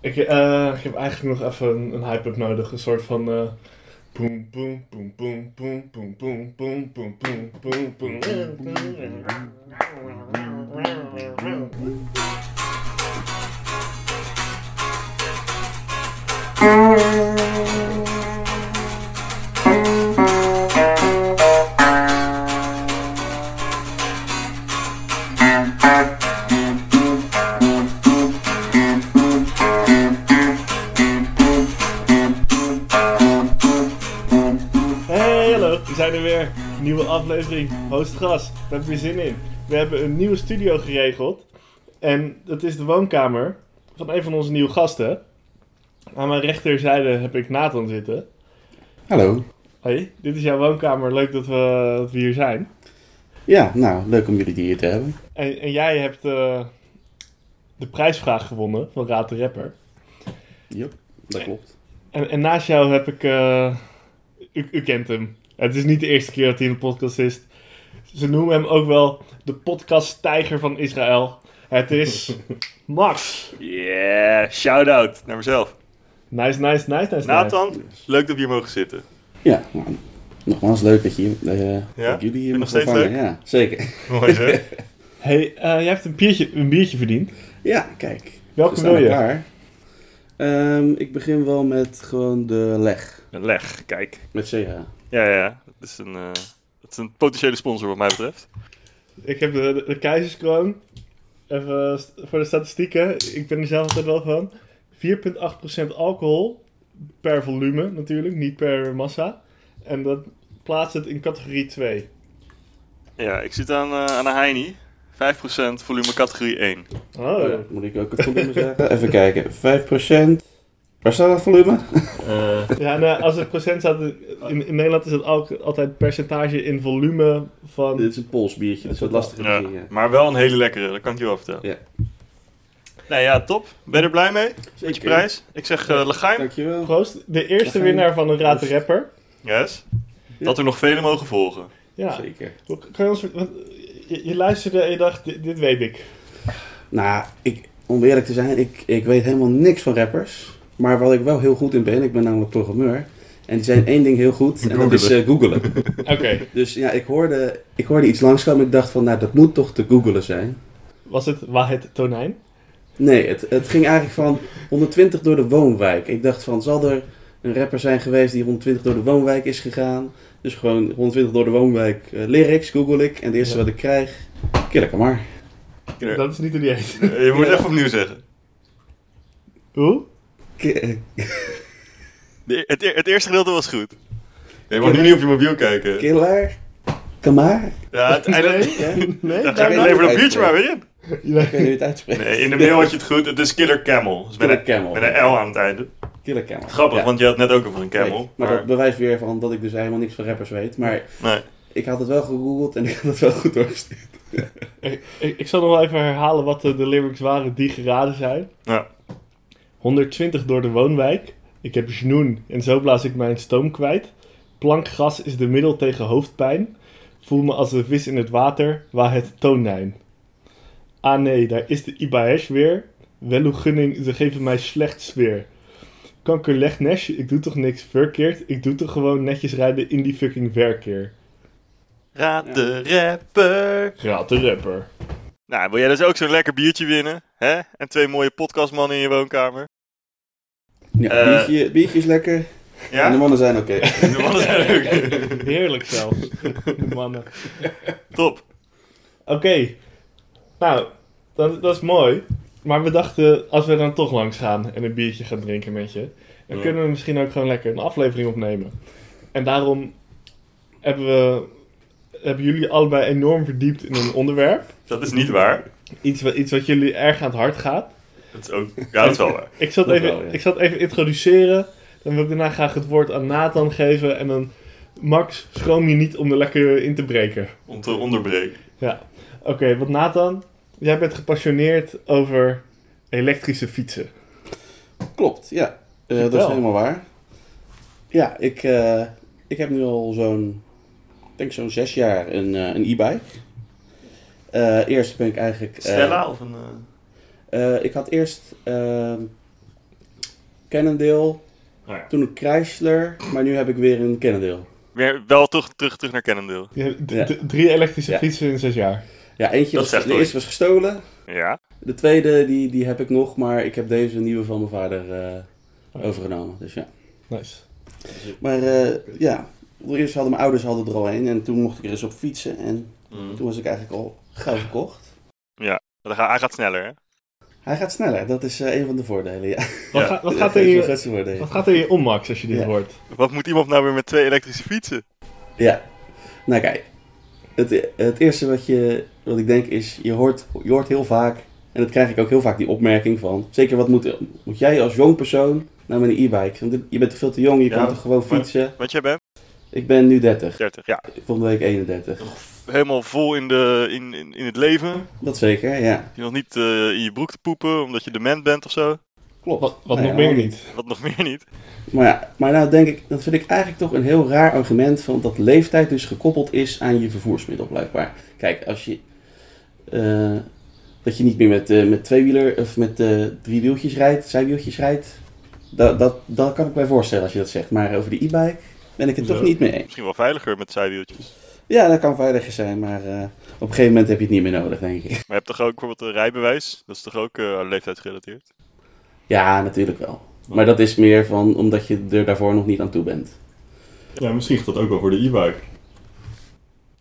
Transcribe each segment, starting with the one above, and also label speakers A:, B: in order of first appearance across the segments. A: Ik, eh, ik heb eigenlijk nog even een, een hype-up nodig. Een soort van... eh boem, boem, boem, boem, boem, boem, boem, boem, boem, boem, boem, boem, boem, boem. Hey, hallo. We zijn er weer. Nieuwe aflevering. Host Gras. Daar heb ik weer zin in. We hebben een nieuwe studio geregeld. En dat is de woonkamer van een van onze nieuwe gasten. Aan mijn rechterzijde heb ik Nathan zitten.
B: Hallo.
A: Hey, dit is jouw woonkamer. Leuk dat we, dat we hier zijn.
B: Ja, nou, leuk om jullie hier te hebben.
A: En, en jij hebt eh, de prijsvraag gewonnen van Raad de Rapper.
B: Yep, dat klopt.
A: En, en naast jou heb ik. eh, u, u kent hem. Het is niet de eerste keer dat hij in de podcast is. Ze noemen hem ook wel de podcast-tijger van Israël. Het is Max.
C: Yeah, shout-out naar mezelf.
A: Nice, nice, nice, nice.
C: Nathan, leuk dat we hier mogen zitten.
B: Ja, nou, nogmaals leuk dat, je, hier- dat, je-
C: Ja?
B: dat jullie hier
C: Vind je nog
B: mogen
C: steeds
B: vangen.
C: leuk?
B: Ja, zeker.
C: Mooi zo.
A: nice. Hey, eh, je hebt een biertje, een biertje verdiend.
B: Ja, kijk.
A: Welke
B: we staan
A: wil je?
B: al klaar. Ehm, ik begin wel met gewoon de leg.
C: Een leg, kijk.
B: Met CH.
C: Ja, ja, ja. Dat is een, eh, dat is een potentiële sponsor wat mij betreft.
A: Ik heb de, de, de keizerskroon. Even st- voor de statistieken. Ik ben er zelf altijd wel van. 4,8% alcohol. Per volume natuurlijk, niet per massa. En dat plaatst het in categorie 2.
C: Ja, ik zit aan, eh, aan een Heini. 5% volume categorie 1.
A: Oh,
B: Oh, Moet ik ook het volume zeggen? Even kijken. 5%. Waar staat dat volume? Eh,
A: Ja, nou, als het procent staat, in, in Nederland is het al- altijd percentage in volume van...
B: Dit is een Pools biertje, dus wat lastiger
C: Ja,
B: te zien, ja.
C: maar wel een hele lekkere, dat kan ik je wel vertellen.
B: Ja.
C: Nou ja, top. Ben je er blij mee? Met je
B: Zeker.
C: prijs? Ik zeg eh Legaim.
B: Dankjewel.
A: Proost, de
B: We
A: eerste
B: gaan-
A: winnaar van een Raad
B: Dus-
A: de Rapper.
C: Yes. Dat er nog vele mogen volgen.
A: Ja,
B: Zeker.
A: kan je ons... want Je, je luisterde en je dacht, dit, dit weet ik.
B: Nou, ik, om eerlijk te zijn, ik, ik weet helemaal niks van rappers. Maar wat ik wel heel goed in ben, ik ben namelijk programmeur. En die zijn één ding heel goed, en dat is eh, googelen.
A: Oké,
B: Dus ja, ik hoorde, ik hoorde iets langskomen. Ik dacht van, nou, dat moet toch te googelen zijn.
A: was het Wahet Tonijn?
B: Nee, het, het ging eigenlijk van 120 door de woonwijk. Ik dacht van, zal er een rapper zijn geweest die 120 door de woonwijk is gegaan? Dus gewoon 120 door de woonwijk eh, lyrics, google ik. En de eerste
A: Ja.
B: wat ik krijg, kill ik hem maar.
C: Ja.
A: Dat is niet hoe die heet.
C: Eh, Je moet even opnieuw zeggen.
A: Hoe?
B: Ki- eh,
C: De- het, e- het eerste gedeelte was goed. Je mag nu niet op je mobiel kijken.
B: Killer, Kamar.
C: Ja, het einde...
B: Ja?
A: Nee,
C: Ja,
A: daar-
B: geen
C: lever dat
B: leeftijd
C: biertje
B: voor.
C: maar weer in.
B: Ik weet niet hoe je het uitspreekt.
C: Nee, in de mail had je het goed. Het is Killer Camel. Dus met,
B: Killer
C: een,
B: Camel.
C: met een L aan het einde.
B: Killer Camel.
C: Grappig,
B: Ja,
C: want je had net ook over een camel.
B: kijk, maar
C: maar
B: dat bewijst weer van dat ik dus helemaal niks van rappers weet. Maar
C: nee.
B: ik had het wel gegoogeld en ik had het wel goed doorgestuurd.
A: ik, ik, ik zal nog wel even herhalen wat eh, de, de lyrics waren die geraden zijn.
C: Ja.
A: 120 door de woonwijk. Ik heb genoen en zo blaas ik mijn stoom kwijt. Plankgas is de middel tegen hoofdpijn. Voel me als de vis in het water, waar het toonijn. Ah nee, daar is de Ibaesh weer. Wel hoe gunning, ze geven mij slecht sfeer. Kanker leg Nash, ik doe toch niks verkeerd. Ik doe toch gewoon netjes rijden in die fucking verkeer.
C: Raad de rapper.
A: Raad de rapper.
C: Nou, wil jij dus ook zo'n lekker biertje winnen? Hè? En twee mooie podcastmannen in je woonkamer?
B: Ja,
C: Eh.
B: biertje, biertje is lekker en de
C: Ja?
B: mannen zijn oké.
C: De mannen zijn ook.
A: Heerlijk zelfs. De mannen.
C: Top.
A: Oké. Nou, dat, dat is mooi. Maar we dachten, als we dan toch langs gaan en een biertje gaan drinken met je, dan
C: Ja.
A: kunnen we misschien ook gewoon lekker een aflevering opnemen. En daarom hebben we. Hebben jullie allebei enorm verdiept in een onderwerp?
C: Dat is niet waar.
A: Iets wat, iets wat jullie erg aan het hart gaat.
C: Dat is ook... Ja, dat is wel waar.
A: Ik zal, het
B: Dat
A: even,
B: wel, ja.
A: ik zal het even introduceren. Dan wil ik daarna graag het woord aan Nathan geven. En dan, Max, schroom je niet om er lekker in te breken.
C: Om te onderbreken.
A: Ja, oké, want Nathan, jij bent gepassioneerd over elektrische fietsen.
B: Klopt, ja. Eh, dat is
A: Vertel.
B: helemaal waar. Ja, ik, eh, ik heb nu al zo'n, ik denk zo'n zes jaar een, eh, een e-bike. Eh, eerst ben ik eigenlijk... eh,
C: Stella of een... eh,
B: Eh, ik had eerst ehm,
C: Oh
B: Cannondale,
A: Nou ja.
B: toen een Chrysler, maar nu heb ik weer een Cannondale.
C: Weer wel terug, terug, terug naar Cannondale.
A: Je hebt d-
B: Ja.
A: d- Drie elektrische
B: Ja.
A: fietsen in zes jaar.
B: Ja, eentje
C: Dat
B: was,
C: zegt
B: de
C: wel
B: eerste was gestolen,
C: Ja.
B: de tweede die, die heb ik nog, maar ik heb deze nieuwe van mijn vader eh,
A: Oh.
B: overgenomen. Dus ja.
A: Nice.
B: Maar eh, ja, eerst hadden mijn ouders hadden er al een en toen mocht ik er eens op fietsen en toen was ik eigenlijk al gauw verkocht.
C: Dat gaat, hij gaat sneller, hè?
B: Hij gaat sneller, dat is eh, een van de voordelen. Ja.
A: Wat,
C: Ja.
A: ga- wat,
B: Ja,
A: gaat
B: dat
A: er
B: is
A: in
B: een
A: je,
B: grootste voordeel.
A: wat gaat er in je om, Max, als je dit
B: Ja.
A: hoort?
C: Wat moet iemand nou weer met twee elektrische fietsen?
B: Ja, nou kijk. Het, het eerste wat, je, wat ik denk is, je hoort, je hoort heel vaak, en dat krijg ik ook heel vaak die opmerking van, zeker wat moet, moet jij als jong persoon nou met een e-bike? Want dit- je bent toch veel te jong, je
C: Ja,
B: kan toch gewoon
C: maar-
B: fietsen?
C: Want jij bent
B: Ik ben nu 30,
C: 30, ja.
B: volgende week 31.
C: Helemaal vol in, de, in, in, in het leven.
B: Dat zeker, ja.
C: Je nog niet eh, in je broek te poepen omdat je dement bent of zo.
B: Klopt.
A: Wat, wat
B: Nou
A: nog
B: ja,
A: meer niet.
C: Wat nog meer niet.
B: Maar ja, maar nou denk ik, dat vind ik eigenlijk toch een heel raar argument van dat leeftijd dus gekoppeld is aan je vervoersmiddel blijkbaar. Kijk, als je eh, dat je niet meer met, eh met tweewieler of met eh driewieltjes rijdt, zijwieltjes rijdt, dat, dat, dat kan ik mij voorstellen als je dat zegt. Maar over de e-bike ben ik het toch
A: Zo.
B: niet mee eens.
C: Misschien wel veiliger met zijwieltjes.
B: Ja, dat kan veiliger zijn, maar eh, op een gegeven moment heb je het niet meer nodig, denk ik.
C: Maar je hebt toch ook bijvoorbeeld een rijbewijs? Dat is toch ook eh, aan leeftijd gerelateerd?
B: Ja, natuurlijk wel. Maar dat is meer van omdat je er daarvoor nog niet aan toe bent.
D: Ja, misschien gaat dat ook wel voor de e-bike.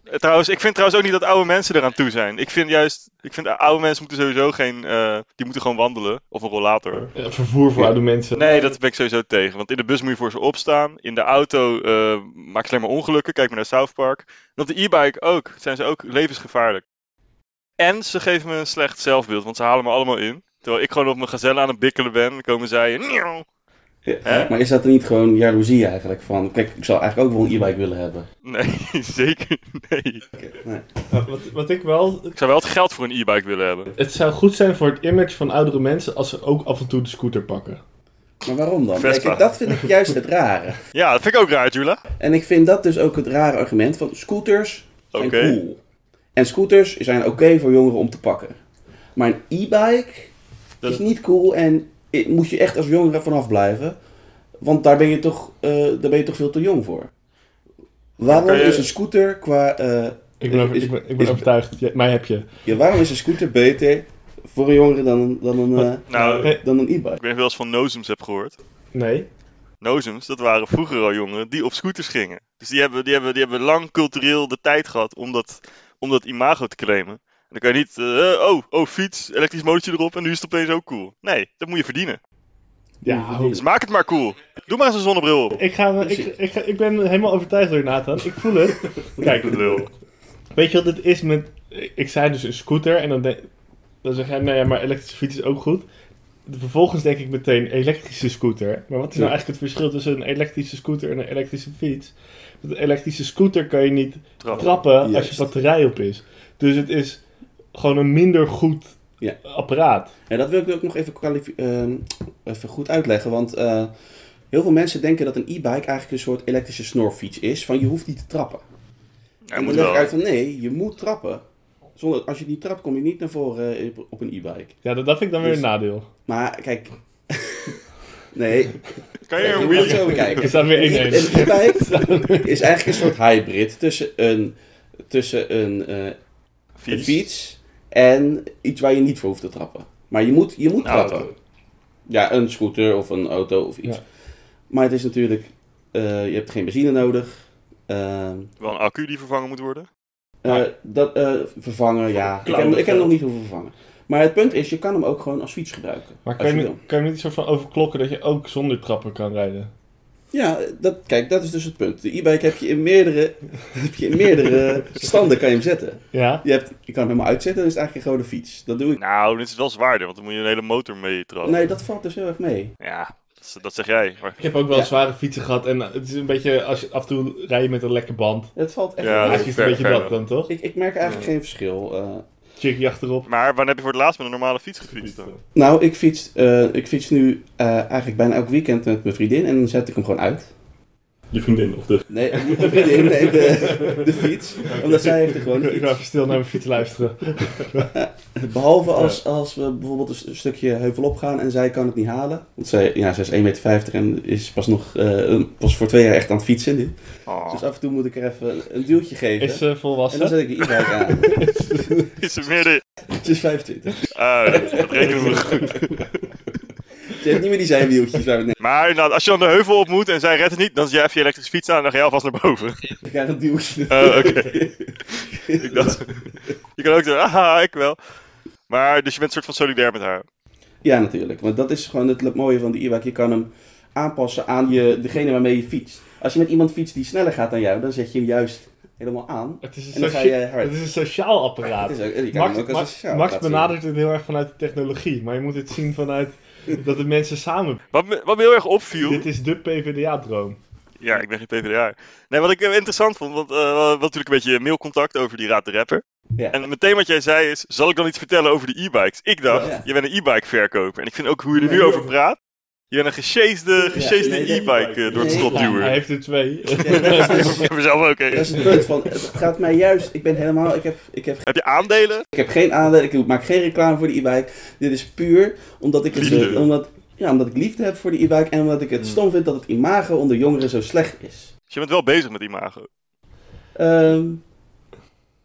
C: Eh, Trouwens, ik vind trouwens ook niet dat oude mensen eraan toe zijn. Ik vind juist, ik vind eh, oude mensen moeten sowieso geen, eh, die moeten gewoon wandelen. Of een rollator.
A: Eh, Vervoer voor
B: Ja.
A: oude mensen.
C: Nee, dat ben ik sowieso tegen. Want in de bus moet je voor ze opstaan. In de auto eh maakt ze alleen maar ongelukken. Kijk maar naar South Park. En op de e-bike ook. Zijn ze ook levensgevaarlijk. En ze geven me een slecht zelfbeeld. Want ze halen me allemaal in. Terwijl ik gewoon op mijn gazelle aan het bikkelen ben. Dan komen zij. en "Nieuw." Hè?
B: Maar is dat er niet gewoon jaloezie eigenlijk van? Kijk, ik zou eigenlijk ook wel een e-bike willen hebben.
C: Nee, zeker nee.
A: Eh, Wat, wat ik wel...
C: Ik zou wel het geld voor een e-bike willen hebben.
A: Het zou goed zijn voor het image van oudere mensen als ze ook af en toe de scooter pakken.
B: Maar waarom dan?
C: Vespa.
B: Kijk, dat vind ik juist het rare.
C: Ja, dat vind ik ook raar, Jula.
B: En ik vind dat dus ook het rare argument van scooters zijn
C: Oké.
B: cool. En scooters zijn oké voor jongeren om te pakken. Maar een e-bike
C: Dat-
B: is niet cool en i- moet je echt als jongere vanaf blijven. Want daar ben je toch, eh, daar ben je toch veel te jong voor. Waarom
C: Kan je-
B: is een scooter qua... eh,
A: Ik ben, over-
B: Is-
A: ik ben, ik ben
B: is-
A: overtuigd. Ja, mij heb je.
B: ja, waarom is een scooter beter voor een jongere dan een, dan een, eh,
C: Nou,
A: Eh,
B: dan een e-bike?
C: ik weet wel eens van Nozems heb gehoord.
A: Nee.
C: Nozems, dat waren vroeger al jongeren die op scooters gingen. Dus die hebben, die hebben, die hebben lang cultureel de tijd gehad om dat, om dat imago te claimen. En dan kan je niet, eh, oh, oh, fiets, elektrisch motortje erop en nu is het opeens ook cool. Nee, dat moet je verdienen.
A: Ja,
B: verdienen.
C: Dus maak het maar cool. Doe maar eens een zonnebril op.
A: Ik, ga, ik,
B: Precies.
A: ik, ga- ik ben helemaal overtuigd door je, Nathan. Ik voel het. Kijk,
C: Lul.
A: weet je wat het is met... Ik zei dus een scooter en dan, denk, dan zeg jij, nou ja, maar elektrische fiets is ook goed. Vervolgens denk ik meteen elektrische scooter. Maar wat is nou
B: Ja.
A: eigenlijk het verschil tussen een elektrische scooter en een elektrische fiets? Met een elektrische scooter kan je niet
C: Trap.
A: trappen als
B: Juist.
A: je batterij op is. Dus het is gewoon een minder goed
B: Ja.
A: apparaat.
B: Ja, dat wil ik ook nog even, kwalifi- ehm, even goed uitleggen. Want eh, heel veel mensen denken dat een e-bike eigenlijk een soort elektrische snorfiets is. Van je hoeft niet te trappen.
C: Ja,
B: en
C: moet
B: dan leg ik
C: wel.
B: uit van nee, je moet trappen. Zonder, als je niet trapt, kom je niet naar voren eh, op- op een e-bike.
A: Ja, dat, dat vind ik dan weer
B: Dus-
A: een nadeel.
B: Maar kijk. nee,
C: Kan je
B: kijk,
C: een
B: je moet het
A: Er
B: zo
C: wheelie...
B: bekijken.
A: staat weer één
B: Een
A: eens.
B: e-bike is eigenlijk een soort hybrid tussen een, tussen een, eh, een
C: Fiets.
B: fiets en iets waar je niet voor hoeft te trappen. Maar je moet, je moet
C: Een auto.
B: trappen. Ja, een scooter of een auto of iets.
A: Ja.
B: Maar het is natuurlijk, eh, je hebt geen benzine nodig. Ehm,
C: Wel een accu die vervangen moet worden.
B: eh,
A: Maar-
B: dat, eh, vervangen, ja. Ik heb,
D: Klauwen
B: ik heb nog
D: geld.
B: niet hoeven vervangen. Maar het punt is, je kan hem ook gewoon als fiets gebruiken.
A: Maar
B: Als
A: kan
B: je
A: je,
B: wil.
A: kan je niet soort van overklokken dat je ook zonder trappen kan rijden?
B: Ja, dat, kijk, dat is dus het punt. De e-bike heb je in meerdere, heb je in meerdere standen kan je hem zetten.
A: Ja?
B: Je, hebt, je kan hem helemaal uitzetten, dan is het eigenlijk een gewone fiets. Dat doe ik.
C: Nou, dit is wel zwaarder, want dan moet je een hele motor mee trappen.
B: Nee, dat valt dus heel erg mee.
C: Ja, dat, is- dat zeg jij. Maar
A: Ik heb ook wel
B: Ja.
A: zware fietsen gehad en eh, het is een beetje, als je af en toe rij je met een lekke band.
B: Het valt echt
C: Ja,
B: mee.
A: Ja,
C: dat
A: is het
C: ver-
A: een beetje
C: ver
A: dat
C: wel.
A: dan, toch?
B: Ik, ik merk eigenlijk geen verschil. eh.
A: Chickie achterop.
C: Maar wanneer heb je voor het laatst met een normale fiets gefietst dan?
B: Nou, ik fiets, eh, ik fiets nu eh, eigenlijk bijna elk weekend met mijn vriendin en dan zet ik hem gewoon uit.
D: Je vriendin of de...
B: Nee, eh, niet mijn vriendin, nee, de, de fiets. Omdat zij heeft er gewoon een
A: Ik ga
B: fiets.
A: even stil naar mijn fiets luisteren.
B: Behalve als, als we bijvoorbeeld een s- een stukje heuvel opgaan en zij kan het niet halen. Want zij, ja, zij is 1,50 meter en is pas, nog, eh, een- pas voor twee jaar echt aan het fietsen nu.
C: Oh,
B: Dus af en toe moet ik er even een, een duwtje geven.
A: Is ze
B: en dan
A: volwassen?
B: zet ik de e-bike aan.
C: iets meer dit.
B: Ze is 25.
C: Ah, dat rekenen we goed.
B: Ze heeft niet meer die zijwieltjes waar we net
C: Maar inderdaad, als je dan de heuvel op moet en zij redt het niet, dan zet je even je elektrische fiets aan en dan ga je alvast naar boven.
B: Ik krijg een duwtje.
D: eh,
C: Oh, oké. Ik dacht, je kan ook zeggen, aha, ik wel. Maar, dus je bent een soort van solidair met haar.
B: Ja, natuurlijk. Want dat is gewoon het mooie van de e-bike. Je kan hem aanpassen aan je, degene waarmee je fietst. Als je met iemand fietst die sneller gaat dan jou, dan zet je hem juist helemaal aan.
A: Het is,
B: En
A: een
B: dan ga je eh,
A: socia-
B: hard.
A: het is een sociaal
B: Het
A: apparaat.
B: is ook, je kan
A: Max,
B: hem ook als
A: Ma-
B: een sociaal
A: Max
B: plaats zien.
A: benadert het heel erg vanuit de technologie, maar je moet het zien vanuit dat de mensen samen.
C: Wat me, wat me heel erg opviel...
A: Dit is de PvdA-droom.
C: Ja, ik ben geen PvdA. Nee, wat ik eh, interessant vond, want eh, we hadden natuurlijk een beetje mailcontact over die Raad de Rapper.
B: Ja.
C: En meteen wat jij zei is, zal ik dan iets vertellen over de e-bikes? Ik dacht,
B: Ja.
C: je bent een e-bike verkoper. En ik vind ook hoe je er nu
D: Nee,
C: over
D: over-
C: praat. Je bent een gesjeesde, gesjeesde
B: nee, nee,
C: e-bike eh, door het
B: Nee,
C: slot
A: Ja, hij
C: duwen.
A: heeft er twee.
B: Ja, dat, is,
C: Ik heb mezelf ook
B: dat
C: één.
B: is het punt van, het gaat mij juist, ik ben helemaal, ik heb, ik heb,
C: Heb je aandelen?
B: ik heb geen aandeel, ik maak geen reclame voor de e-bike. Dit is puur omdat ik, het,
C: Liefde.
B: omdat, ja, omdat ik liefde heb voor de e-bike en omdat ik
A: Mm.
B: het stom vind dat het imago onder jongeren zo slecht is.
C: Dus je bent wel bezig met imago.
B: Ehm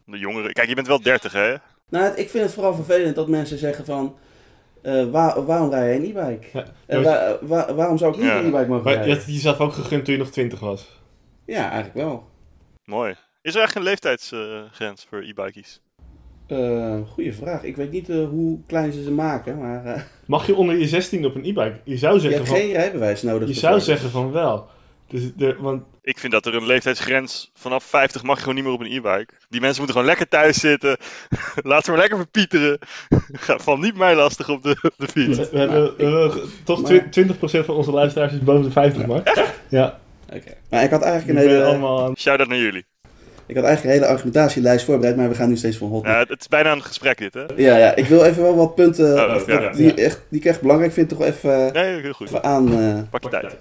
C: De jongeren. Kijk, je bent wel 30, hè?
B: Nou, het- ik vind het vooral vervelend dat mensen zeggen van... eh, waar- waarom rij jij een e-bike?
A: Ja,
B: En wa- wa- waarom zou ik niet
C: Ja.
B: een e-bike mogen
A: Maar je
B: rijden?
A: had het jezelf ook gegund toen je nog twintig was.
B: Ja, eigenlijk wel.
C: Mooi. Is er echt een leeftijdsgrens voor e-bike's?
B: Eh goeie vraag. Ik weet niet eh, hoe klein ze ze maken, maar eh,
A: Mag je onder je 16 op een e-bike? Je zou
B: je
A: zeggen
B: hebt
A: van,
B: geen rijbewijs nodig.
A: je zou
B: bijvoorbeeld.
A: zeggen van wel. Dus de, want
C: Ik vind dat er een leeftijdsgrens vanaf 50 mag je gewoon niet meer op een e-bike. Die mensen moeten gewoon lekker thuis zitten. Laat ze maar lekker verpieteren. Ga- Val niet mij lastig op de, op de fiets.
A: we hebben eh, toch
B: maar-
A: twi- 20% van onze luisteraars is boven de 50 maar. Ja,
B: Oké. Maar ik had,
A: die
B: eigenlijk een
A: ben
B: hele,
A: allemaal aan.
C: Shout-out naar jullie.
B: ik had eigenlijk een hele argumentatielijst voorbereid, maar we gaan nu steeds van hot.
C: Ja, het, het is bijna een gesprek dit, hè?
B: Ja, ja, ik wil even wel wat punten
C: Oh,
B: of-
C: ja, ja.
B: die, Echt, die ik echt belangrijk vind toch even,
C: Nee, heel goed.
B: even aan... eh,
C: Pak je tijd.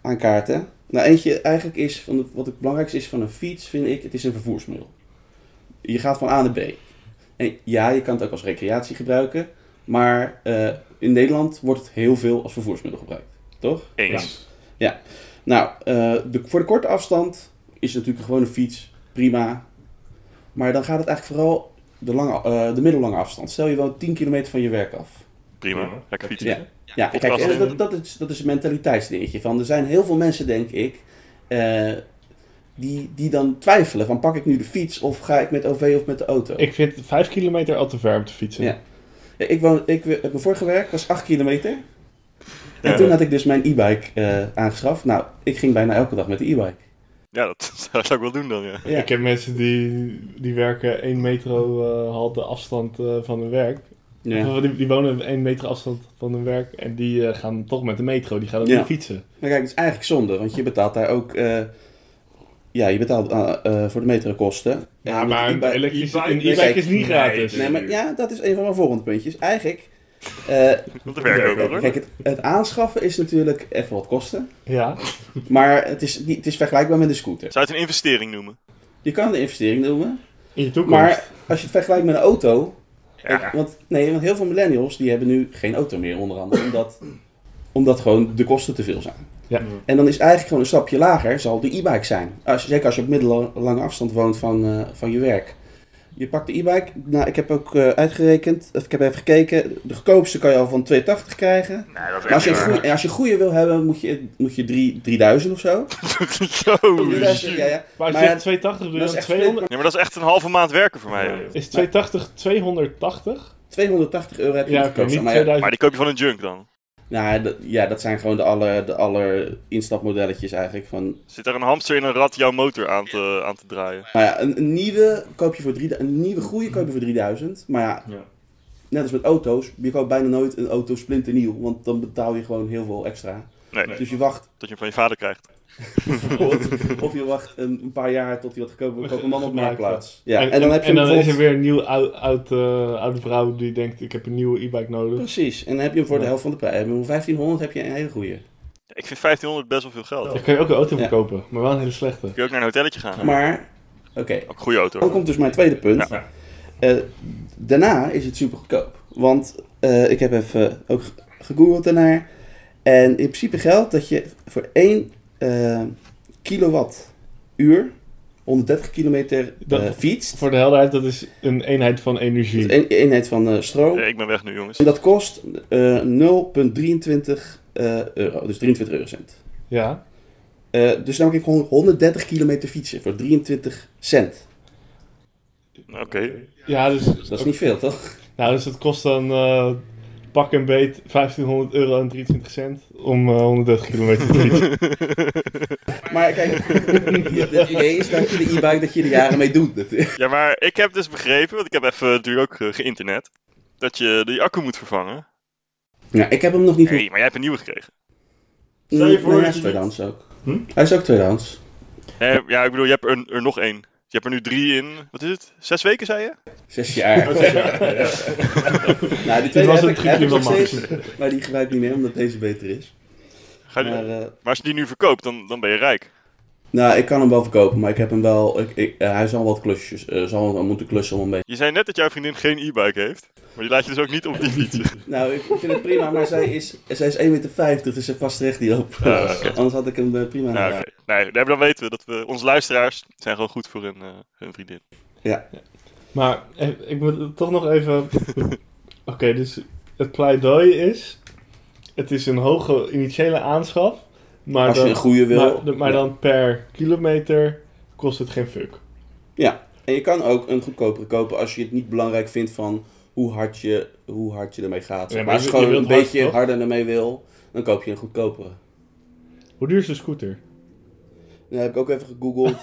B: aankaarten. Nou, eentje eigenlijk is, van de- wat het belangrijkste is van een fiets, vind ik, het is een vervoersmiddel. Je gaat van A naar B. En ja, je kan het ook als recreatie gebruiken, maar eh, in Nederland wordt het heel veel als vervoersmiddel gebruikt, toch?
C: Eens.
B: Nou, eh, de- voor de korte afstand is natuurlijk gewoon een fiets prima. Maar dan gaat het eigenlijk vooral de, lange, eh, de middellange afstand. Stel je woont 10 kilometer van je werk af.
C: Prima. Lekker fietsen.
B: Ja, ja
C: Tot
B: kijk, en
C: afstand.
B: dat, dat, is, dat is een mentaliteitsdingetje. Van, er zijn heel veel mensen, denk ik, eh, die, die dan twijfelen. Van, pak ik nu de fiets of ga ik met OV of met de auto?
A: Ik vind 5 kilometer al te ver om te fietsen.
B: Ja. Ja, ik woon, ik, mijn vorige werk was 8 kilometer. En
C: Ja.
B: toen had ik dus mijn e-bike eh, aangeschaft. Nou, ik ging bijna elke dag met de e-bike.
C: Ja, dat zou ik wel doen dan, ja.
B: Ja.
A: Ik heb mensen die, die werken 1 metro eh, halte afstand eh, van hun werk.
B: Ja.
A: Of Die, die wonen 1 meter afstand van hun werk en die eh, gaan toch met de metro, die gaan ook
B: Ja.
A: niet fietsen.
B: Maar kijk, het is eigenlijk zonde, want je betaalt daar ook... eh, ja, je betaalt eh, eh, voor de metrokosten.
A: Ja,
B: En met
A: maar
B: de
A: een
B: e-bike-
A: elektrische
D: e-bike-
A: een e-bike is niet
D: Nee,
A: gratis.
D: nee.
B: Nee, maar ja, dat is een van mijn volgende puntjes. Eigenlijk... eh,
C: Want er werken ook wel, hoor.
B: Kijk, het, het aanschaffen is natuurlijk even wat kosten.
A: Ja,
B: Maar het is, niet- het is vergelijkbaar met een scooter.
C: Zou je het een investering noemen?
B: Je kan het een investering noemen.
A: in je toekomst.
B: Maar als je het vergelijkt met een auto.
C: Ja.
B: kijk, want, nee, want heel veel millennials die hebben nu geen auto meer, onder andere. Omdat, omdat gewoon de kosten te veel zijn.
A: Ja.
B: En dan is eigenlijk gewoon een stapje lager, zal de e-bike zijn. Als, zeker als je op middellange afstand woont van, eh, van je werk. Je pakt de e-bike. Nou, ik heb ook eh, uitgerekend. Ik heb even gekeken. De goedkoopste kan je al van 2,80 krijgen.
C: Nee, dat
B: Maar als je, een
C: niet
B: goeie, als je een goeie wil hebben, moet je, moet je drie, 3000 of zo.
C: waar. Holy
B: 3000, ja, ja.
C: shit.
A: Maar als
B: Maar
A: je
B: ja,
A: zegt 280, doe je
B: Dat is
A: dan
B: echt flink,
A: 200?
C: Ja, maar dat is echt een halve maand werken voor mij. joh.
A: dus Is 280 280?
B: maar 280 euro heb je
A: Ja, oké,
B: goedkoop.
A: niet
B: maar ja,
A: 2000.
C: Maar die koop je van een junk dan.
B: nou, dat, ja, dat zijn gewoon de aller, de aller instapmodelletjes eigenlijk. Van,
C: Zit daar een hamster in een rat jouw motor aan te, aan te draaien?
B: nou ja, een, een nieuwe koop je voor 3000, een nieuwe goede koop je voor 3000. Maar ja,
D: Ja.
B: net als met auto's, je koopt bijna nooit een auto splinternieuw. Want dan betaal je gewoon heel veel extra.
C: Nee,
D: Nee.
B: Dus je wacht
C: dat je hem van je vader krijgt.
B: bijvoorbeeld, of je wacht een, een paar jaar tot hij wat goedkoper wordt. Koop een man op
A: Gemaakt,
B: marktplaats. Ja, en, dan heb je
A: en
B: hem
A: dan is er
B: bijvoorbeeld-
A: weer een nieuw oud, oud, eh, oude vrouw die denkt, ik heb een nieuwe e-bike nodig.
B: Precies, en dan heb je hem voor de
A: Ja.
B: helft van de prijs. Heb je hem voor 1500 heb je een hele goede.
C: Ja, ik vind 1500 best wel veel geld.
A: Dan kan je ook een auto
B: Ja.
A: verkopen, maar wel een hele slechte.
C: Dan kun je ook naar een hotelletje gaan.
B: Maar, oké,
C: Ook een goede auto.
B: dan komt dus mijn tweede punt.
A: Ja.
B: Eh, daarna is het super goedkoop. Want eh, ik heb even ook ge- gegoogeld daarnaar. En in principe geldt dat je voor eh, 1 kilowattuur 130 kilometer
A: Dat-
B: eh, fietst.
A: Voor de helderheid, dat is een eenheid van energie.
B: Dat is een eenheid van eh, stroom.
C: Nee, ik ben weg nu, jongens.
B: En dat kost eh, 0,23 eh, euro, dus 23 eurocent.
A: Ja.
B: Eh, dus dan kan ik gewoon 130 kilometer fietsen voor 23 cent.
C: Oké.
A: Ja, dus,
B: Dat is niet veel, toch?
A: nou, dus dat kost dan eh, pak en beet 1500 euro en 23 cent om eh, 130 kilometer te fietsen.
B: Maar kijk, het idee is dat je de e-bike dat je er jaren mee doet. natuurlijk.
C: Ja, maar ik heb dus begrepen, want ik heb even natuurlijk ook eh, geïnternet, dat je die accu moet vervangen.
B: Ja, ik heb hem nog niet...
C: Nee, maar jij hebt een nieuwe gekregen.
D: Stel je
B: Mm,
D: voor
B: nee,
D: dat
B: hij is
D: je
B: tweedehands ook.
D: Hm?
B: Hij is ook tweedehands.
C: Eh, ja, ik bedoel, je hebt er, er nog één. Je hebt er nu drie in, wat is het? Zes weken, zei je?
B: Zes
D: Oh,
B: jaar. nou, die
A: Dit
B: tweede
A: was
B: heb
A: een
B: ik, heb
A: trucje
B: ik
A: van
B: nog
A: Max.
B: steeds. Maar die gebruik ik niet meer, omdat deze beter is.
C: Ga je-
B: Maar,
C: maar
B: eh,
C: als je die nu verkoopt, dan, dan ben je rijk.
B: nou, ik kan hem wel verkopen, maar ik heb hem wel... Ik, ik- eh, hij zal wat klusjes... eh, zal wel moeten klussen om een beetje...
C: Je zei net dat jouw vriendin geen e-bike heeft, maar die laat je dus ook niet op die fietsen.
B: Nou, ik vind het prima, maar zij is, zij is 1,50 meter, dus ze past terecht die op.
C: Ah, oké.
B: Anders had ik hem eh, prima
C: Nou,
B: gedaan.
C: oké. Nee, nee, dan weten we dat we, onze luisteraars zijn gewoon goed voor hun, eh, hun vriendin.
A: Maar eh, ik moet toch nog even... Oké, dus het pleidooi is... Het is een hoge initiële aanschaf, maar,
B: Als je
A: dan,
B: een goede wil.
A: maar, maar dan per kilometer kost het geen fuck.
B: En je kan ook een goedkopere kopen als je het niet belangrijk vindt van hoe hard je, hoe hard je ermee gaat.
A: Ja,
B: zeg
A: maar
B: maar als
A: je
B: je
A: wil- je
B: gewoon een
A: wilt hard,
B: beetje
A: toch?
B: harder ermee wil, dan koop je een goedkopere.
A: Hoe duur is de scooter?
B: Dat heb ik ook even gegoogeld.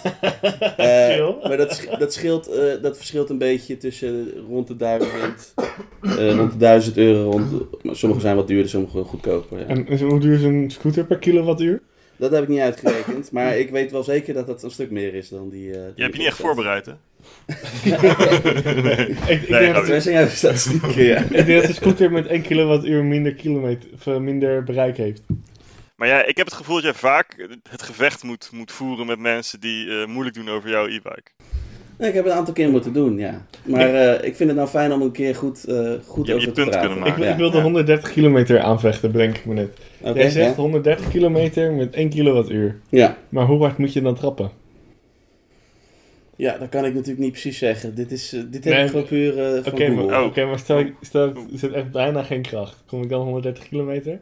B: Eh,
A: Chill.
B: maar dat, sch- dat, scheelt, eh, dat verschilt een beetje tussen rond de duizend, eh, rond de duizend euro. Rond de- maar sommige zijn wat duurder, sommige goedkoper. ja.
A: En, en hoe duur is een scooter per kilowattuur?
B: Dat heb ik niet uitgerekend, maar ik weet wel zeker dat dat een stuk meer is dan die... eh, die
C: Je hebt je niet echt voorbereid, hè?
A: Ik, ik, denk,
C: Nee,
A: dat,
C: grapje.
B: Wij zijn juist statistieken, ja.
A: ik denk dat de scooter met 1 kilowattuur minder, kilometer, of, eh, minder bereik heeft.
C: Maar ja, ik heb het gevoel dat jij vaak het gevecht moet, moet voeren met mensen die eh, moeilijk doen over jouw e-bike.
B: Nee, Ik heb het een aantal keer moeten doen, ja. Maar eh, ik vind het nou fijn om een keer goed, eh, goed
C: Je- je
B: over te
C: punt
B: praten.
C: kunnen
A: Ik,
C: maken.
A: wil-
B: Ja.
A: ik wil de
C: ja.
A: 130 kilometer aanvechten, bedenk ik me net.
B: Oké,
A: Jij zegt
B: ja.
A: 130 kilometer met 1 kilowattuur.
B: Ja.
A: Maar hoe hard moet je dan trappen?
B: ja, dat kan ik natuurlijk niet precies zeggen. Dit, is, eh, dit heb
A: Nee.
B: ik gewoon puur eh, van
A: Oké, maar, oh.
B: Google.
A: oké, maar stel, ik- stel ik- er zit echt bijna geen kracht. Kom ik dan 130 kilometer?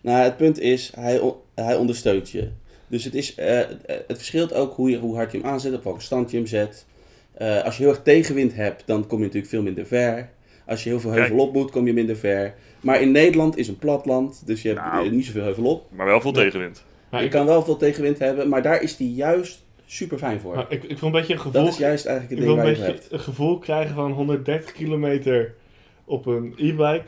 B: Nou, het punt is, hij, on- hij ondersteunt je. Dus het, is, eh, eh, het verschilt ook hoe, je, hoe hard je hem aanzet, op welke stand je hem zet. Eh, als je heel erg tegenwind hebt, dan kom je natuurlijk veel minder ver. Als je heel veel heuvel op moet, kom je minder ver. Maar in Nederland is een platland, dus je hebt
C: Nou.
B: eh, niet zoveel heuvel op.
C: Maar wel veel tegenwind.
A: Maar
B: je
A: ik,
B: kan wel veel tegenwind hebben, maar daar is die juist super fijn voor.
A: maar ik, ik wil een beetje een
B: Dat
A: gevoel,
B: is juist eigenlijk
A: ik
B: het
A: wil een,
B: ding waar je het
A: beetje
B: hebt.
A: een gevoel krijgen van 130 kilometer op een e-bike.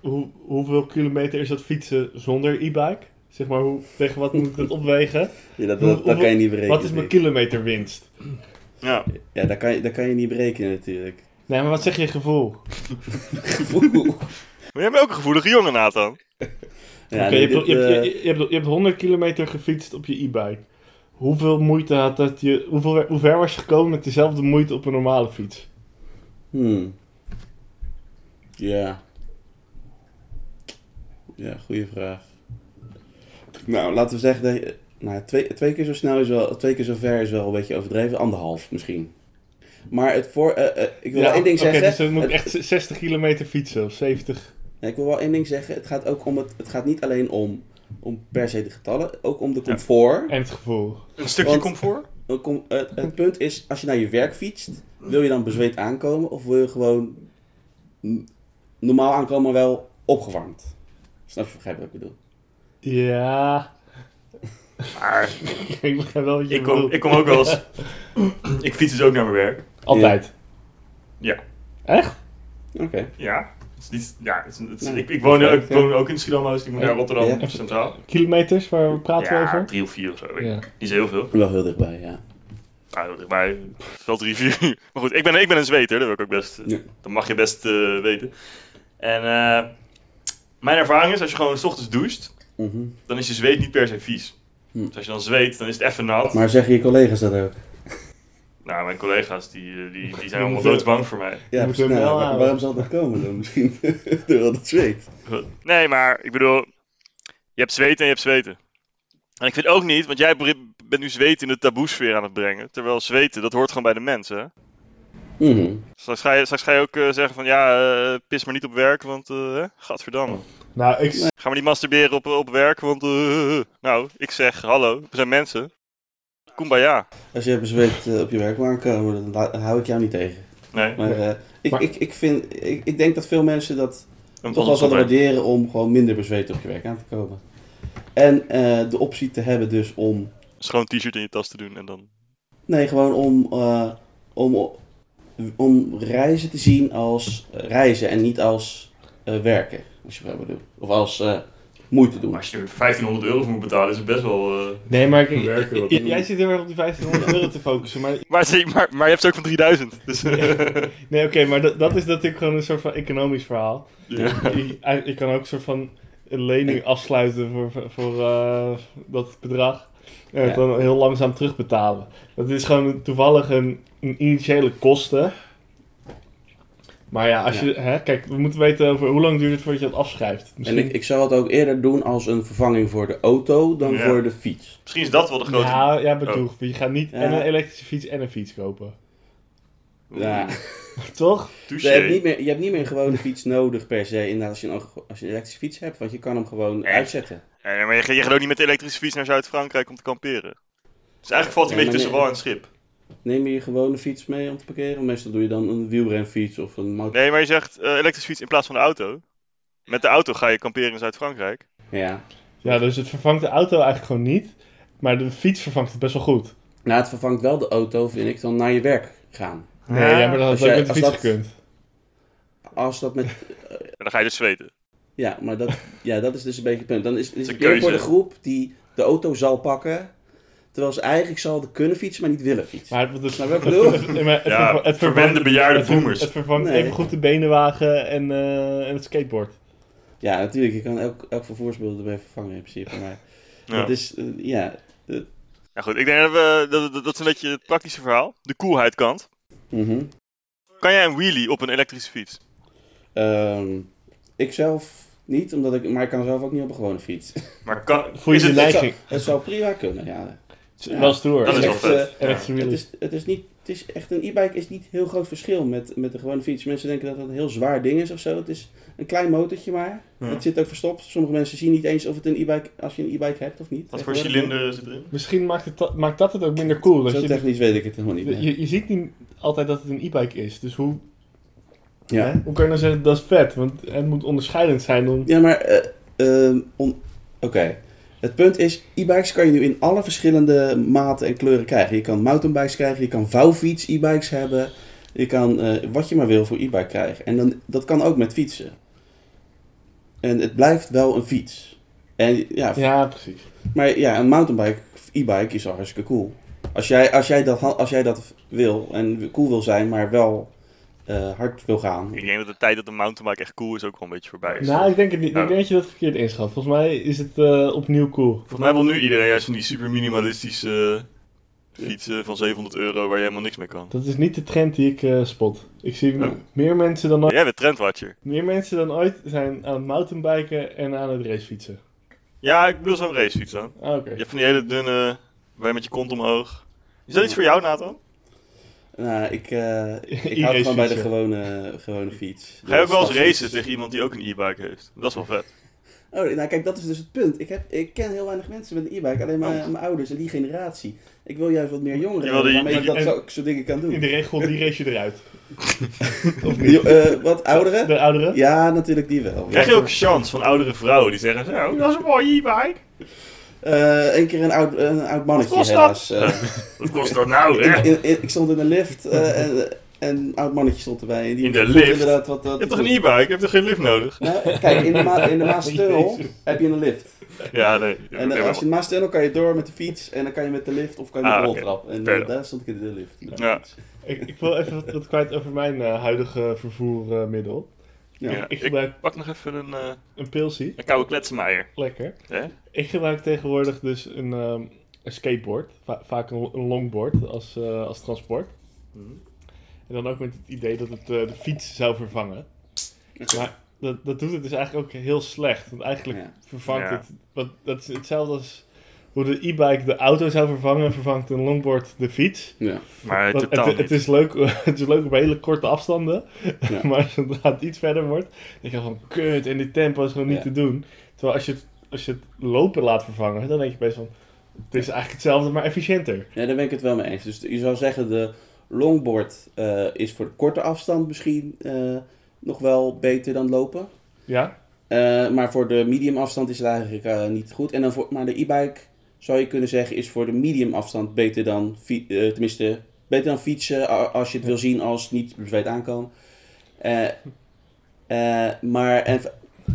A: Hoe, hoeveel kilometer is dat fietsen zonder e-bike? Zeg maar, hoe, tegen wat moet ik dat opwegen?
B: Ja, dat,
A: Hoe-
B: dat, dat kan je niet berekenen.
A: Wat is mijn
B: natuurlijk.
A: kilometerwinst?
C: Ja.
B: Ja, dat kan, je- dat kan je niet berekenen natuurlijk.
A: Nee, maar wat zeg je gevoel?
B: Gevoel.
C: Maar jij bent ook een gevoelige jongen, Nathan.
B: Ja,
A: Oké,
B: nee,
A: je, hebt,
B: dit,
A: je, hebt-
B: eh,
A: je, je hebt, je hebt 100 kilometer gefietst op je e-bike. Hoeveel moeite had dat je... Hoeveel, hoe ver was je gekomen met dezelfde moeite op een normale fiets?
B: Hmm. Ja. Ja, goede vraag. Nou, laten we zeggen dat je- nou, twee, twee keer zo snel is wel, twee keer zo ver is wel een beetje overdreven. Anderhalf misschien. Maar het voor, eh, eh, ik wil wel één ding
A: oké,
B: zeggen.
A: dus dan moet ik
B: Het-
A: echt 60 kilometer fietsen of 70.
B: Nee, ik wil wel één ding zeggen. Het gaat ook om het, het gaat niet alleen om, om per se de getallen, ook om de comfort.
A: En het gevoel.
C: Een stukje
B: Want-
C: comfort?
B: Dan kom- eh, het, het punt is, als je naar je werk fietst, wil je dan bezweet aankomen of wil je gewoon n- normaal aankomen, maar wel opgewarmd? Snap je, begrijp je wat ik bedoel?
A: Ja,
C: Maar
A: ik begrijp wel wat je
C: ik kom,
A: bedoelt.
C: ik kom ook wel eens... ik fiets dus ook naar mijn werk.
A: Altijd.
C: Ja.
A: Echt?
B: Oké.
C: Ja. Het is niet, ja, het is, het is-
B: Nee.
C: ik, ik, woon,
A: Ja.
C: ik woon ook in Schiedam, dus ik moet naar Rotterdam
B: Ja.
C: Centraal.
A: Kilometers, waar praten we
C: Ja,
A: over?
C: drie of vier of zo. weet ik.
A: Ja.
C: Niet zo heel veel.
B: Wel heel dichtbij, ja.
C: Nou, heel dichtbij. Wel drie, vier uur. Maar goed, ik ben, ik ben een zweter, dat wil ik ook best.
B: Ja.
C: Dat mag je best eh, weten. En eh, mijn ervaring is, als je gewoon s ochtends doucht,
B: Mhm.
C: Dan is je zweet niet per se vies.
B: Hm.
C: Dus als je dan zweet, dan is het even nat.
B: Maar zeggen je collega's dat ook?
C: Nou, mijn collega's die, eh, die, die zijn
A: Je
C: allemaal
A: moet wel-
C: doodsbang voor mij.
B: Ja,
A: moet hem
B: nou,
A: wel
B: wa-
A: houden.
B: waarom zal dat komen dan? Misschien door dat zweet.
C: Nee, maar ik bedoel, je hebt zweten en je hebt zweten. En ik vind ook niet, want jij br- bent nu zweten in de taboesfeer aan het brengen. Terwijl zweten, dat hoort gewoon bij de mensen. hè?
B: Mhm.
C: Straks ga je, straks ga je ook eh, zeggen van ja, eh, pis maar niet op werk, want eh, hè, gadverdamme.
A: Nou, ik,
C: Ga maar niet masturberen op, op werk, want eh, nou, ik zeg hallo, we zijn mensen. Kumbaya.
B: Als je bezweet eh, op je werk wil aankomen, dan la- hou ik jou niet tegen.
C: Nee,
B: Maar, eh, ik,
A: Maar-
B: Ik, ik, vind, ik, ik denk dat veel mensen dat
C: een
B: toch wel zullen waarderen om gewoon minder bezweet op je werk aan te komen. En eh, de optie te hebben dus om...
C: schoon t-shirt in je tas te doen en dan...
B: Nee, gewoon om, eh, om, om reizen te zien als eh, reizen en niet als eh, werken. Als je wat bedoelt. Of als eh, moeite doen.
C: je er 1500 euro voor moet betalen, is het best wel... eh,
A: nee, maar ik-
D: Werken wat
A: j-
D: doen.
A: jij zit heel erg op die 1500 euro te focussen. Maar,
C: Maar, zie- maar, maar je hebt ze ook van 3000, dus...
A: nee, oké, maar dat, dat is natuurlijk gewoon een soort van economisch verhaal.
C: ja.
A: Ik, eigenlijk, ik kan ook een soort van een lening afsluiten voor, voor eh, dat bedrag. En het
B: Ja.
A: dan heel langzaam terugbetalen. Dat is gewoon toevallig een, een initiële kosten. Maar ja, als
B: Ja.
A: je, hè, kijk, we moeten weten over hoe lang duurt het voordat je dat afschrijft.
B: En
A: Misschien-
B: ik, ik zou het ook eerder doen als een vervanging voor de auto dan
C: Ja.
B: voor de fiets.
C: Misschien is dat wel de grote...
A: Ja, ja, bedoel, je gaat niet
B: Oh. Ja.
A: en een elektrische fiets en een fiets kopen.
B: Ja.
A: Toch?
B: Je, hebt niet meer, je hebt niet meer een gewone fiets nodig per se inderdaad, als je, een, als je een elektrische fiets hebt. Want je kan hem gewoon
C: Echt?
B: uitzetten.
C: Ja, maar je, gaat- je gaat ook niet met de elektrische fiets naar Zuid-Frankrijk om te kamperen. Dus eigenlijk valt hij een
B: Ja,
C: beetje tussen
B: maar
C: wal en schip.
B: Neem je je gewone fiets mee om te parkeren? Meestal doe je dan een wielrenfiets of een motor.
C: Nee, maar je zegt eh, elektrische fiets in plaats van de auto. Met de auto ga je kamperen in Zuid-Frankrijk.
B: Ja.
A: Ja, dus het vervangt de auto eigenlijk gewoon niet. Maar de fiets vervangt het best wel goed.
B: Nou, het vervangt wel de auto, vind ik, dan naar je werk gaan.
A: Nee, ja, maar dat had
B: Als
A: ook
B: jij-
A: met de
B: als
A: fiets
B: dat-
A: gekund.
B: Als dat met...
C: En dan ga je dus zweten.
B: Ja, maar dat, ja, dat is dus een beetje het punt. Dan is, is
C: een
B: het meer voor de
C: keuze.
B: groep die de auto zal pakken, terwijl ze eigenlijk zal kunnen fietsen, maar niet willen fietsen.
A: Maar het, het,
B: Snap
A: het,
B: je wat ik bedoel?
A: nee, maar het
C: Ja,
A: verva- het
C: verwende
A: vervangt-
C: bejaarde
A: het ver-
C: boomers.
A: Het vervangt
B: Nee.
A: even goed de benenwagen en, eh, en het skateboard.
B: Ja, natuurlijk, je kan elk, elk vervoersmiddel erbij vervangen in principe, maar
C: Ja.
B: dat is... eh, ja.
C: Ja, goed. Ik denk dat we... Dat, dat, dat is een beetje het praktische verhaal. De koelheidkant.
B: mhm.
C: Kan jij een wheelie op een elektrische fiets?
B: Ehm, ik zelf niet, omdat ik, maar ik kan zelf ook niet op een gewone fiets.
C: Maar kan...
A: Voel je
C: is
A: je lijf-
C: het-
B: Het zou,
A: ging.
B: het zou prima kunnen, ja. Ja.
A: Wel stoer.
C: Dat is wel
B: Echt,
C: vet.
A: En
C: Ja.
A: echt eh,
B: Het
A: really.
B: is, het is niet, het is echt, een e-bike is niet heel groot verschil met, met de gewone fiets. Mensen denken dat dat een heel zwaar ding is of zo. Het is een klein motortje maar.
C: Ja.
B: Het zit ook verstopt. Sommige mensen zien niet eens of het een e-bike, als je een e-bike hebt of niet.
C: Wat voor
B: Tegenwoordig.
C: cilinder zit erin?
A: Misschien maakt, het, dat- maakt dat het ook minder cool. Dat
B: Zo
A: je,
B: technisch weet ik het helemaal niet. meer.
A: je, je ziet niet altijd dat het een e-bike is. Dus hoe, hè,
B: ja.
A: hoe kan je nou zeggen dat is vet? Want het moet onderscheidend zijn. Om,
B: ja, maar... eh, ehm, om- Oké. Het punt is, e-bikes kan je nu in alle verschillende maten en kleuren krijgen. Je kan mountainbikes krijgen, je kan vouwfiets e-bikes hebben. Je kan eh, wat je maar wil voor e-bike krijgen. En dan, dat kan ook met fietsen. En het blijft wel een fiets. En ja,
A: ja, precies.
B: Maar ja, een mountainbike of e-bike is al hartstikke cool. Als jij, als jij, dat, ha- als jij dat wil en cool wil zijn, maar wel eh, hard wil gaan.
C: Ik denk dat de tijd dat de mountainbike echt cool is ook wel een beetje voorbij is.
A: Nou, ik denk, het niet.
C: Nou.
A: ik denk dat je dat verkeerd inschat. Volgens mij is het eh, opnieuw cool.
C: Volgens mij wil nu iedereen juist van die super minimalistische eh, fietsen van 700 euro waar je helemaal niks mee kan.
A: Dat is niet de trend die ik eh, spot. Ik zie
C: Oh.
A: meer, mensen dan ooit,
C: Jij bent trendwatcher.
A: meer mensen dan ooit zijn aan het mountainbiken en aan het racefietsen.
C: Ja, ik bedoel zo'n racefiets dan.
A: Ah, Oké.
C: Je hebt van die hele dunne, waar je met je kont omhoog. Is dat iets voor jou, Nathan?
B: Nou, ik, eh ik hou
A: E-race
B: gewoon bij de
A: fietsen.
B: gewone, gewone fiets.
C: Ga je ook wel eens
B: Dus-
C: racen tegen iemand die ook een e-bike heeft? Dat is wel vet.
B: Oh, nou kijk, dat is dus het punt. Ik, heb, ik ken heel weinig mensen met een e-bike, alleen maar mijn ouders en die generatie. Ik wil juist wat meer jongeren,
C: Oh. Je wil die-
B: waarmee ik dat
A: en-
B: zo, zo dingen kan doen.
A: In de regel, die race je eruit.
B: Die- eh, wat ouderen?
A: De ouderen?
B: Ja, natuurlijk die wel.
C: Krijg je ook chance van oudere vrouwen die zeggen, zo, dat is een mooie e-bike.
B: Eén Eh, keer een oud, een oud mannetje
C: Wat kost
B: helaas. eh,
C: Wat kost dat nou,
B: Ik,
C: hè?
B: ik- ik- ik stond in een lift eh, en, en een oud mannetje stond erbij. En die
C: In de
B: vond
C: lift?
B: Inderdaad wat, wat
C: Je hebt toch een e-bike? Je hebt toch geen lift nodig?
B: Nou, kijk, in de, ma in de Maastunnel
A: Jezus.
B: heb je een lift.
C: Ja, nee.
B: En dan, als je in de Maastunnel kan je door met de fiets en dan kan je met de lift of kan je met
C: Ah,
B: de
C: oké.
B: roltrap. En
C: Fair
B: eh,
C: enough.
B: daar stond ik in de lift. met de
C: Ja.
B: fiets.
A: Ik, ik wil even wat, wat kwijt over mijn eh, huidige vervoermiddel.
C: Ja,
A: Ik
C: ik
A: gebruik
C: pak nog even een, eh,
A: een pilsie.
C: een koude kletsenmaier.
A: Lekker.
C: Hè?
A: Ik gebruik tegenwoordig dus een, ehm, een skateboard. Va- vaak een, een longboard als, eh, als transport.
B: Mhm.
A: En dan ook met het idee dat het eh, de fiets zou vervangen. Maar dat, dat doet het dus eigenlijk ook heel slecht. Want eigenlijk
B: Ja.
A: vervangt
C: Ja.
A: het... Want dat is hetzelfde als hoe de e-bike de auto zou vervangen... vervangt een longboard de fiets.
B: Ja.
C: Maar
A: Want
C: totaal
A: het,
C: niet.
A: het, is leuk, het is leuk op hele korte afstanden.
B: Ja.
A: maar zodra het iets verder wordt... denk je van... Kut, en dit tempo is gewoon niet
B: Ja.
A: te doen. Terwijl als je, het, als je het lopen laat vervangen... dan denk je best van... Het is eigenlijk hetzelfde, maar efficiënter.
B: Nee, daar ben ik het wel mee eens. Dus je zou zeggen, de longboard eh, is voor de korte afstand misschien eh, nog wel beter dan lopen.
A: Ja?
B: Eh, maar voor de medium afstand is het eigenlijk eh, niet goed. En dan voor, maar de e-bike zou je kunnen zeggen is voor de medium afstand beter dan, fi- eh, tenminste, beter dan fietsen a- als je het wil zien als het niet bezweet aankomen. Eh, eh, maar en,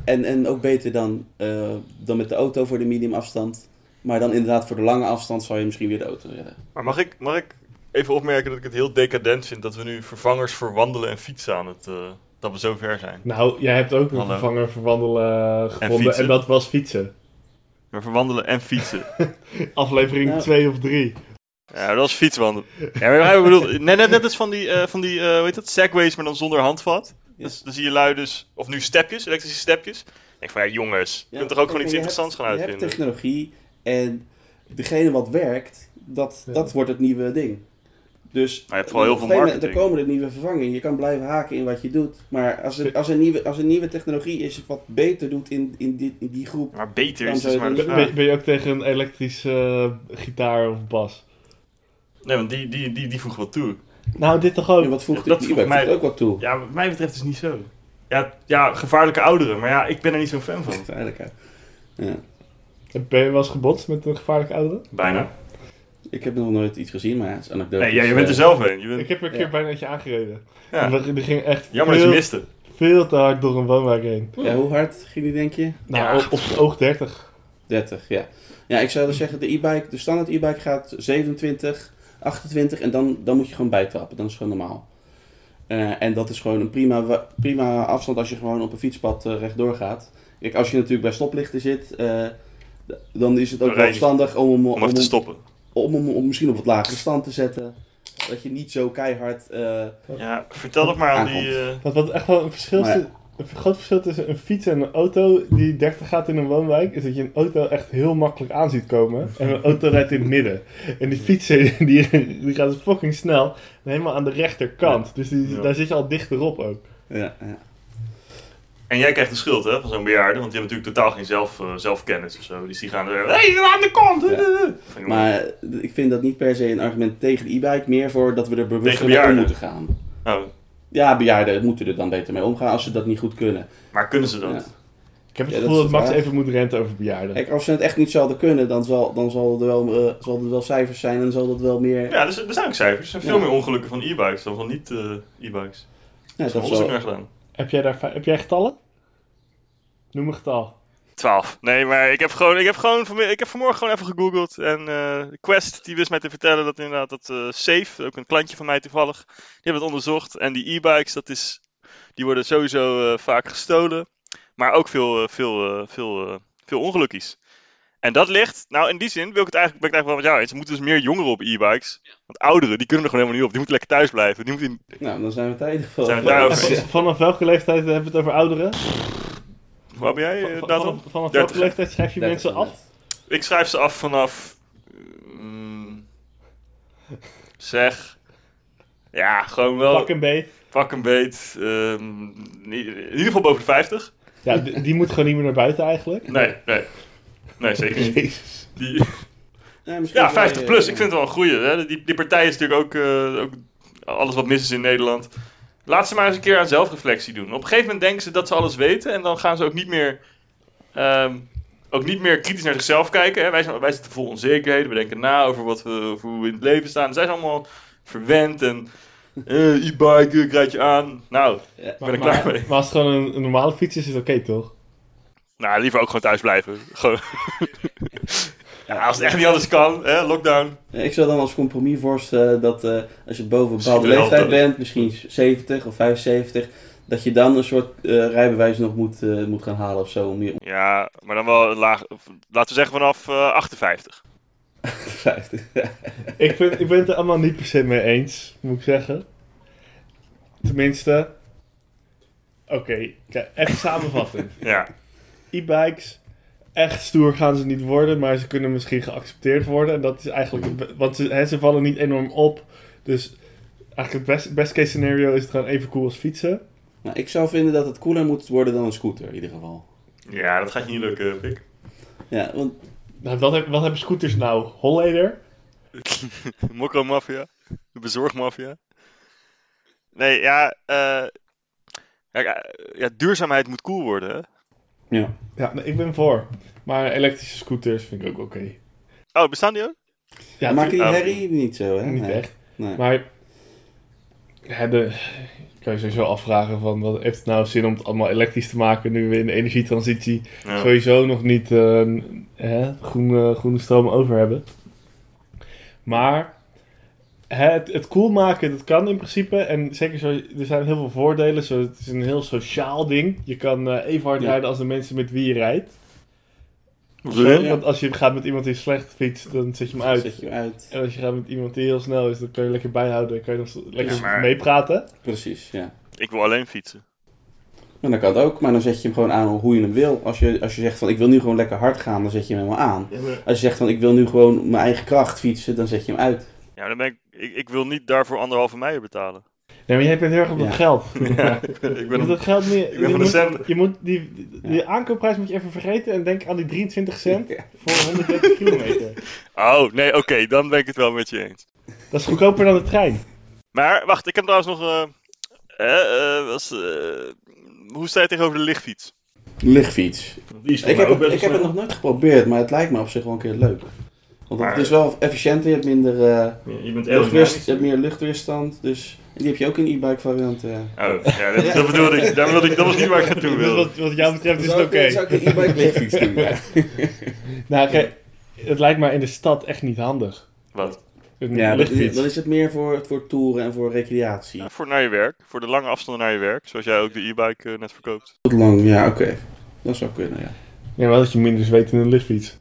B: en, en ook beter dan, eh, dan met de auto voor de medium afstand. Maar dan inderdaad voor de lange afstand zou je misschien weer de auto willen.
C: Maar mag ik, mag ik even opmerken dat ik het heel decadent vind dat we nu vervangers voor wandelen en fietsen aan het... eh, dat we zo ver zijn.
A: Nou, jij hebt ook een
C: Hallo.
A: vervanger voor wandelen eh, gevonden. En,
C: fietsen.
A: dat was fietsen.
C: Maar voor wandelen en fietsen.
A: Aflevering
B: Nou.
A: 2 of 3.
C: Ja, dat is fietswandelen. Ja, maar ik bedoel, net, net, net als van die, eh, van die eh hoe heet dat, segways, maar dan zonder handvat.
B: Ja.
C: Dus dan zie je lui dus, of nu stepjes, elektrische stepjes. Ik denk van, ja jongens, je kunt toch ook gewoon iets interessants gaan
B: Je
C: uitvinden.
B: hebt technologie en degene wat werkt, dat,
A: Ja.
B: dat wordt het nieuwe ding. Dus
C: Maar je hebt vooral heel
B: op
C: veel
B: een gegeven moment,
C: marketing.
B: Er komen er nieuwe vervangingen. Je kan blijven haken in wat je doet. Maar als er, als er, nieuwe, als er nieuwe technologie is wat beter doet in, in, die, in die groep.
C: Maar beter
B: Dan
C: is dus
B: zou je
C: maar de
A: Ben,
B: dat-
C: vraag.
A: ben- ben je ook tegen een elektrische eh, gitaar of bas?
C: Nee, want die, die, die, die voegt wat toe.
A: Nou, dit toch
B: En
A: ook?
B: wat voegt
C: dat
B: die
C: voegt
B: e-bike
C: mij-
B: ook wat toe?
C: Ja, wat mij betreft is het niet zo. Ja, ja, gevaarlijke ouderen, maar ja, ik ben er niet zo'n fan van.
B: Eigenlijk, hè. ja.
A: Ben je wel eens gebotst met een gevaarlijke auto?
C: Bijna.
B: Ik heb nog nooit iets gezien, maar het is anekdotisch.
C: Nee, ja, je bent er
B: Eh,
C: zelf een. Je bent-
A: Ik heb er een
B: Ja.
A: keer bijna eentje aangereden.
C: ja.
A: Omdat Die ging echt
C: Jammer dat je
A: veel,
C: miste.
A: veel te hard door een woonwijk heen.
B: ja, hoe hard ging die, denk je?
A: Nou,
C: Ja.
A: op, op het oog 30.
B: 30, ja. Ja, ik zou dan zeggen, de e-bike, de standaard e-bike gaat 27, 28 en dan, dan moet je gewoon bijtrappen. Dan is het gewoon normaal. Eh, en dat is gewoon een prima, wa- prima afstand als je gewoon op een fietspad eh, rechtdoor gaat. Kijk, als je natuurlijk bij stoplichten zit, eh, d- dan is het ook
C: Dan
B: wel
C: rij je-
B: verstandig om hem,
C: Om even te stoppen.
B: om, hem- om misschien op wat lagere stand te zetten. Dat je niet zo keihard... eh,
C: Ja, vertel toch maar aan die...
B: Aankomt.
C: eh,
A: Want wat echt wel een verschil is.
B: Maar ja.
A: Een groot verschil tussen een fiets en een auto die 30 gaat in een woonwijk, is dat je een auto echt heel makkelijk aan ziet komen. En een auto rijdt in het midden. En die fietsen die, die gaan dus fucking snel. En helemaal aan de rechterkant. Dus die,
C: Ja.
A: daar zit je al dichterop ook.
B: ja, ja.
C: En jij krijgt de schuld hè, van zo'n bejaarde, want die hebben natuurlijk totaal geen zelf, eh, zelfkennis of zo. Dus die gaan er. Hé, hey, aan de kant!
B: Ja.
C: Van, jongen,
B: Maar eh, ik vind dat niet per se een argument tegen de e-bike. Meer voor dat we er bewust
C: Tegen
B: mee om
C: bejaarden.
B: moeten gaan.
C: nou,
B: Ja, bejaarden moeten er dan beter mee omgaan als ze dat niet goed kunnen.
C: maar kunnen ze dat?
A: Ik heb het
B: Ja, dat
A: gevoel
B: is
A: dat
B: de
A: Max
B: vraag.
A: even moet renten over bejaarden.
B: Kijk, als ze het echt niet zouden kunnen, dan zal, dan zal, er, wel, eh, zal er wel cijfers zijn en zal dat wel meer...
C: Ja, dus, er zijn ook cijfers. Er zijn veel
B: Ja.
C: meer ongelukken van e-bikes dan van niet-e-bikes.
B: Ja,
C: dat is
B: dat
C: onderzoek
B: zal,
C: naar gedaan.
A: Heb, jij daar, heb jij getallen? Noem een getal.
C: 12. Nee, maar ik heb, gewoon, ik, heb gewoon vanmi- ik heb vanmorgen gewoon even gegoogeld. En eh, Quest, die wist mij te vertellen dat inderdaad dat eh, Safe, ook een klantje van mij toevallig, die hebben het onderzocht. En die e-bikes, dat is, die worden sowieso eh, vaak gestolen. Maar ook veel, eh, veel, eh, veel, eh, veel ongelukkies. En dat ligt, nou in die zin wil ik het eigenlijk, ben ik het eigenlijk wel met jou eens. Er moeten dus meer jongeren op e-bikes. Want ouderen, die kunnen er gewoon helemaal niet op. Die moeten lekker thuis blijven. Die moeten in-
B: nou, dan zijn we het in ieder geval.
C: Zijn we daarover
A: En
C: eens?
A: van- Vanaf welke leeftijd hebben we het over ouderen?
C: Hoe oud ben jij, eh,
A: Van- van-
C: Nathan?
A: vanaf, vanaf welke
C: 30.
A: leeftijd schrijf je mensen af?
C: Ik schrijf ze af vanaf. mm, zeg. Ja, gewoon wel.
A: Pak
C: Pak een,
A: een beet.
C: beet. ehm, niet- in ieder geval boven de 50.
A: Ja, die, die moet gewoon niet meer naar buiten eigenlijk.
C: Nee, nee. Nee, zeker niet.
A: Jezus.
C: Die,
B: Ja, misschien
C: ja,
B: wel,
C: 50
B: eh,
C: plus. Ik vind het wel een goeie. Hè? Die, die partij is natuurlijk ook, eh, ook alles wat mis is in Nederland. Laat ze maar eens een keer aan zelfreflectie doen. Op een gegeven moment denken ze dat ze alles weten. En dan gaan ze ook niet meer, ehm, ook niet meer kritisch naar zichzelf kijken. Hè? Wij, zijn, wij zitten vol onzekerheden. We denken na over, wat we, over hoe we in het leven staan. Zij zijn allemaal verwend. En eh, e-bike, ik rijd je aan. Nou,
B: Ja,
C: ik ben er klaar
A: maar,
C: mee.
A: maar als het gewoon een, een normale fiets is, is het oké toch?
C: Nou, liever ook gewoon thuis blijven. Gewoon. ja, als het echt niet anders kan. Hè? Lockdown.
B: eh, Ik zou dan als compromis voorstellen dat eh, als je boven een
C: Misschien
B: bepaalde
C: de helft
B: leeftijd
C: ook.
B: bent, misschien 70 of 75, dat je dan een soort eh, rijbewijs nog moet, eh, moet gaan halen of zo om je
C: Ja, maar dan wel een laag. of Laten we zeggen vanaf eh, 58.
B: te vijfde.
A: Ik, vind, ik ben het er allemaal niet per se mee eens, moet ik zeggen. Tenminste. Oké, kijk, even samenvatten.
C: Ja.
A: E-bikes, echt stoer gaan ze niet worden, maar ze kunnen misschien geaccepteerd worden. En dat is eigenlijk. het be- Want ze, hè, ze vallen niet enorm op. Dus eigenlijk het best, best case scenario is het gewoon even cool als fietsen.
B: nou, ik zou vinden dat het cooler moet worden dan een scooter in ieder geval.
C: ja, dat gaat je niet lukken, eh, Pik.
B: Ja, want
A: Nou, wat, heb- wat hebben scooters nou? Holleder?
C: Mokko Mafia. De bezorgmafia. Nee, ja, eh, kijk, eh, ja. Duurzaamheid moet cool worden. Hè?
B: ja.
A: Ja, nee, ik ben voor. Maar elektrische scooters vind ik ook oké.
C: Oh, bestaan die ook?
A: Ja,
B: maakt die
C: tuurlijk.
B: herrie niet zo, hè?
A: Niet
B: Nee.
A: echt.
B: Nee.
A: Maar ja, de, kan je sowieso afvragen van wat heeft het nou zin om het allemaal elektrisch te maken nu we in de energietransitie
C: Ja.
A: sowieso nog niet eh, hè, groene, groene stroom over hebben. Maar hè, het, het cool maken, dat kan in principe. En zeker, zo, er zijn heel veel voordelen. Zo, het is een heel sociaal ding. Je kan eh, even hard
B: Ja.
A: rijden als de mensen met wie je rijdt.
C: Zo.
A: Want als je gaat met iemand die slecht fietst, dan zet je hem uit.
B: Zet je uit.
A: En als je gaat met iemand die heel snel is, dan kan je lekker bijhouden. Dan kan je nog zo- lekker
C: Ja, maar-
A: meepraten.
B: Precies, ja.
C: Ik wil alleen fietsen.
B: En dat kan het ook, maar dan zet je hem gewoon aan hoe je hem wil. Als je, als je zegt van ik wil nu gewoon lekker hard gaan, dan zet je hem helemaal aan. Als je zegt van ik wil nu gewoon mijn eigen kracht fietsen, dan zet je hem uit.
C: Ja, maar dan ben ik, ik, ik wil niet daarvoor anderhalve meijer betalen.
A: Nee, maar jij bent heel erg op dat
B: Ja.
A: geld.
C: Ja, ik ben, ik
A: Je
C: ben
A: moet
C: een-
A: dat geld meer.
C: ik ben
A: je,
C: van de
A: moet,
C: centen.
A: je moet die, die, die
B: Ja.
A: aankoopprijs moet je even vergeten en denk aan die 23 cent
B: Ja.
A: voor 130 kilometer.
C: Oh, nee, oké, dan ben ik het wel met je eens.
A: Dat is goedkoper dan de trein.
C: Maar wacht, ik heb trouwens nog. eh, eh, eh, was, eh, hoe sta je tegenover de lichtfiets?
B: Lichtfiets.
D: Want Die is voor
B: Ik
D: mij
B: heb,
D: ook
B: het,
D: best
B: ik heb het nog nooit geprobeerd, maar het lijkt me op zich wel een keer leuk. Want
C: Maar-
B: het is wel efficiënter, je hebt minder eh
D: snel. Ja, je bent
B: luchtweerst-
D: aerodynamisch.
B: je hebt meer luchtweerstand. Dus en die heb je ook in e-bike variant. eh.
C: Oh, ja, dat, dat bedoelde ik. Daar wilde ik. Dat was niet waar ik naartoe
A: Dus
C: wilde.
A: wat, wat jou betreft is het
B: Zou
A: oké.
B: ik- Zou ik een e-bike lichtfiets doen? Ja.
A: Nou, kijk, het lijkt mij in de stad echt niet handig.
C: Wat?
A: Een
B: Ja, dat-
A: lichtfiets.
B: dan is het meer voor, voor toeren en voor recreatie.
C: Ja, voor naar je werk. Voor de lange afstanden naar je werk. Zoals jij ook de e-bike eh, net verkoopt.
B: Tot lang, ja, oké. Dat zou kunnen, ja.
A: Ja, maar dat je minder zweet in een lichtfiets.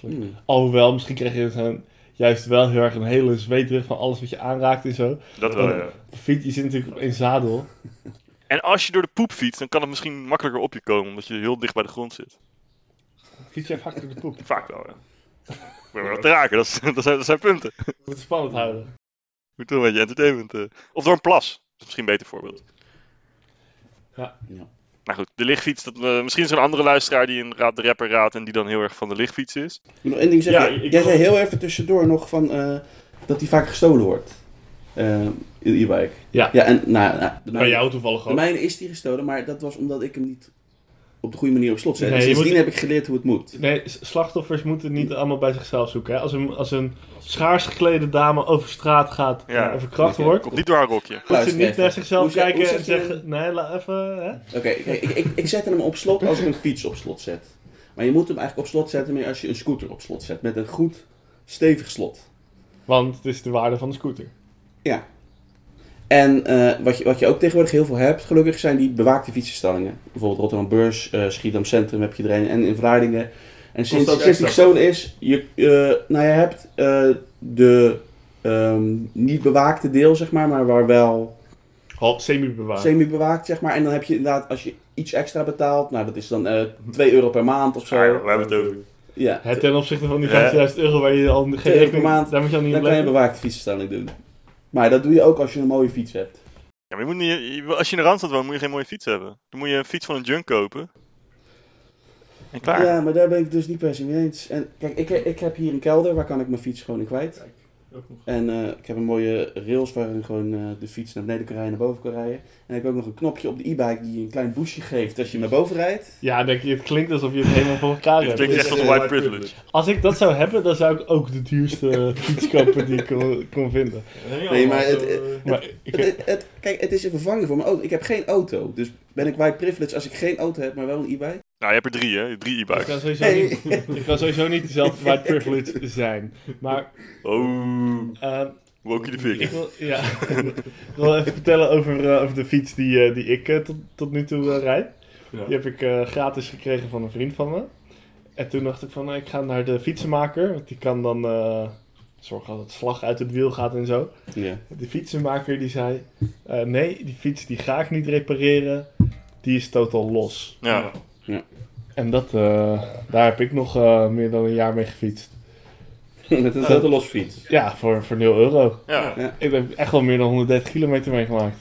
B: Hmm.
A: Alhoewel, misschien krijg je zo'n- juist wel heel erg een hele zweetdruk van alles wat je aanraakt en zo.
C: Dat wel, ja.
A: Fiets, je zit natuurlijk op één zadel.
C: En als je door de poep fietst, dan kan het misschien makkelijker op je komen. Omdat je heel dicht bij de grond zit.
A: Fiets jij vaak door de poep.
C: Vaak wel, ja. Ik ben wel te raken. Dat, is- dat, zijn, dat zijn punten.
A: Moet het spannend houden.
C: Moet wel een beetje entertainment. eh. Of door een plas. Dat is misschien een beter voorbeeld.
A: Ja.
B: Ja.
C: Nou goed, de lichtfiets. Dat, eh, misschien is er een andere luisteraar die een raad de rapper raadt en die dan heel erg van de lichtfiets is.
B: Ik moet nog één ding zeggen.
D: Ja, ik- ik
B: Jij
D: wil-
B: zei heel even tussendoor nog van eh, dat die vaak gestolen wordt. Eh, in de e-bike.
A: Ja.
B: Ja, en nou, nou, de,
A: Bij
B: mijne,
A: jou toevallig
B: de
A: ook.
B: mijne is die gestolen, maar dat was omdat ik hem niet op de goede manier op slot zette.
A: Nee, je
B: Sindsdien
A: moet-
B: heb ik geleerd hoe het moet.
A: Nee, s- slachtoffers moeten niet allemaal bij zichzelf zoeken. Hè? Als, een, als een schaars geklede dame over straat gaat
C: Ja.
A: en verkracht
B: Oké.
A: wordt,
C: Komt niet door haar rokje.
A: moet ze
B: Luister
A: niet
B: even.
A: naar zichzelf
B: Hoe zeg-
A: kijken
B: hoe
A: en
B: zeg je-
A: zeggen: Nee, laat even. Hè?
B: Oké, kijk, ik, ik, ik zet hem op slot als ik een fiets op slot zet. Maar je moet hem eigenlijk op slot zetten meer als je een scooter op slot zet. Met een goed, stevig slot.
A: Want het is de waarde van de scooter.
B: En eh, wat, je, wat je ook tegenwoordig heel veel hebt, gelukkig zijn die bewaakte fietsenstallingen. Bijvoorbeeld Rotterdam Beurs, eh, Schiedam Centrum heb je er een en in Vlaardingen. En sinds,
D: ook
B: sinds die
D: extra?
B: zone is, je, eh, nou, je hebt eh, de ehm, niet bewaakte deel, zeg maar, maar waar wel
A: Half semi-bewaard.
B: semi-bewaakt, zeg maar. En dan heb je inderdaad, als je iets extra betaalt, nou dat is dan eh 2 euro per maand of
C: Ja, joh,
B: zo.
C: we hebben het over.
B: Ja,
A: Hè, ten opzichte van die
C: Ja.
A: 5000 euro waar je al geen
B: euro per
A: rekening
B: maand.
A: Daar moet je al niet
B: dan
A: op
B: kan je een
A: letten.
B: bewaakte fietsenstelling doen. Maar dat doe je ook als je een mooie fiets hebt.
C: Ja, maar je moet niet, je- als je in de Randstad woont, moet je geen mooie fiets hebben. Dan moet je een fiets van een junk kopen. En klaar.
B: Ja, maar daar ben ik dus niet per se mee eens. En kijk, ik, ik heb hier een kelder, waar kan ik mijn fiets gewoon in kwijt.
D: Ook nog.
B: En eh, ik heb een mooie rails waarin gewoon eh, de fiets naar beneden kan rijden en naar boven kan rijden. En dan heb ik ook nog een knopje op de e-bike die je een klein boesje geeft als je naar boven rijdt.
A: Ja, denk je, het klinkt alsof je het helemaal voor elkaar
C: Dit klinkt
A: hebt.
C: echt als white privilege.
A: Als ik dat zou hebben, dan zou ik ook de duurste fiets kopen die ik kon, kon vinden.
B: Nee, maar het-
A: Maar ik,
B: Het, het- het- kijk, het is een vervanging voor mijn auto. Ik heb geen auto, dus ben ik white privilege als ik geen auto heb, maar wel een e-bike?
C: Nou, je hebt er drie, hè? Drie
A: ik,
C: e-bikes.
A: kan sowieso
B: Nee.
A: niet, ik kan sowieso niet zelf white privilege zijn. Maar
C: Oh.
A: Ehm,
C: Wokey de
A: Ik
C: Pig.
A: wil, ja. ik wil even vertellen over, eh, over de fiets die, eh, die ik eh, tot, tot nu toe eh, rijd.
D: Ja.
A: Die heb ik eh, gratis gekregen van een vriend van me. En toen dacht ik van, nou, ik ga naar de fietsenmaker. Want die kan dan eh, zorgen dat het slag uit het wiel gaat en zo.
B: Ja.
A: De fietsenmaker die zei, eh, nee, die fiets die ga ik niet repareren. Die is totaal los.
C: Ja.
A: En dat, eh, daar heb ik nog eh, meer dan een jaar mee gefietst.
B: Met een totaal los fiets.
A: Ja, voor, voor 0 euro.
C: ja.
A: Ik heb echt wel meer dan 130 kilometer meegemaakt.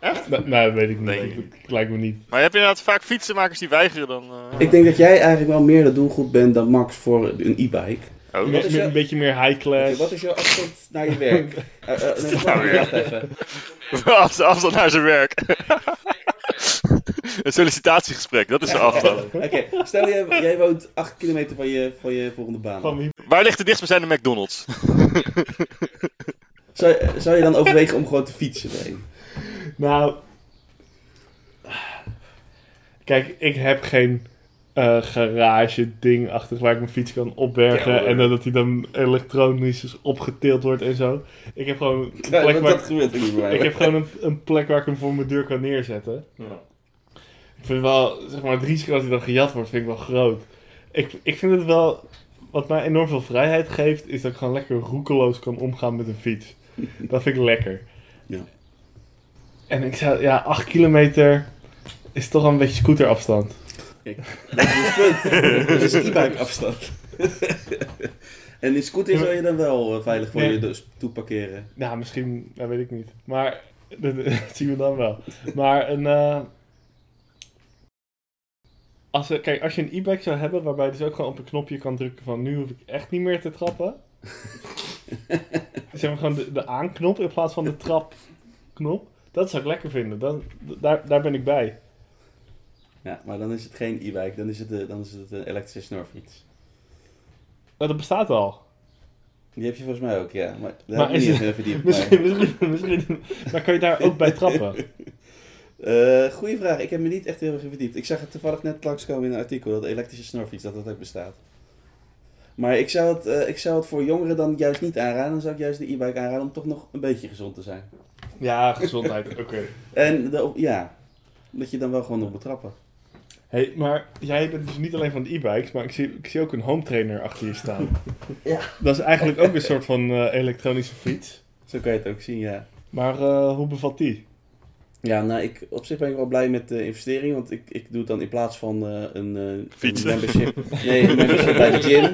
C: Echt?
A: Nou, nou, dat weet ik niet.
C: Nee.
A: Dat lijkt me niet.
C: Maar heb je inderdaad vaak fietsenmakers die weigeren dan... eh,
B: Ik denk dat jij eigenlijk wel meer de doelgroep bent dan Max voor een e-bike.
C: oh.
A: Wat
B: is
A: een
B: jou-
A: beetje meer high
B: Oké,
A: class.
B: Wat is jouw afstand naar je werk? Eh, eh, nee, wacht even, wacht even.
C: Afstand afstand naar zijn werk. een sollicitatiegesprek, dat is de afstand.
B: Oké, stel jij, jij woont 8 kilometer van je, van je volgende baan.
A: Van wie?
C: Waar ligt de dichtstbijzijnde McDonald's?
B: Zou, je- zou je dan overwegen om gewoon te fietsen erheen?
A: Nou. Kijk, ik heb geen eh garage-ding achter waar ik mijn fiets kan opbergen.
B: Ja, hoor.
A: en eh, dat die dan elektronisch dus opgetild wordt en zo. Ik heb gewoon een
B: Ja,
A: plek
B: want
A: waar,
B: dat gebeurt er niet bij mij.
A: ik heb gewoon een, een plek waar ik hem voor mijn deur kan neerzetten.
D: Ja.
A: Ik vind wel, zeg maar, het risico als hij dan gejat wordt, vind ik wel groot. Ik, ik vind het wel, wat mij enorm veel vrijheid geeft, is dat ik gewoon lekker roekeloos kan omgaan met een fiets. Dat vind ik lekker.
B: Ja.
A: En ik zou, ja, 8 kilometer is toch wel een beetje scooterafstand.
B: Dat is Dus het punt. Dat is e-bike afstand. en in scooter zou je dan wel eh, veilig voor
A: Nee.
B: je dus toe parkeren.
A: Nou, misschien, dat weet ik niet. Maar, dat, dat zien we dan wel. Maar een, eh, als, we- kijk, als je een e-bike zou hebben, waarbij je dus ook gewoon op een knopje kan drukken van nu hoef ik echt niet meer te trappen. zeg maar gewoon de, de aanknop in plaats van de trapknop. Dat zou ik lekker vinden. Dan, d- daar, daar ben ik bij.
B: Ja, maar dan is het geen e-bike, dan is het, eh, dan is het een elektrische snorfiets.
A: Nou, dat bestaat al.
B: Die heb je volgens mij ook, ja. Maar daar
A: Maar
B: heb ik
A: is-
B: niet
A: Dus
B: echt meer verdiept.
A: Misschien, misschien, misschien. Maar kan je daar ook bij trappen?
B: maar- Eh, goeie vraag, ik heb me niet echt heel erg in verdiept. Ik zag het toevallig net langskomen in een artikel, dat elektrische snorfiets, dat dat ook bestaat. Maar ik zou, het, eh, ik zou het voor jongeren dan juist niet aanraden. Dan zou ik juist de e-bike aanraden om toch nog een beetje gezond te zijn.
A: Ja, gezondheid. Oké.
B: En de- ja, dat je dan wel gewoon op moet trappen.
A: Hey, maar jij bent dus niet alleen van de e-bikes, maar ik zie, ik zie ook een home trainer achter je staan.
B: Ja.
A: Dat is eigenlijk ook een soort van eh, elektronische fiets.
B: Zo kan je het ook zien, ja.
A: Maar eh, hoe bevalt die?
B: Ja, nou, ik, op zich ben ik wel blij met de investering, want ik, ik doe het dan in plaats van eh, een, eh,
C: Fietsen.
B: een membership. Nee, een membership bij de gym.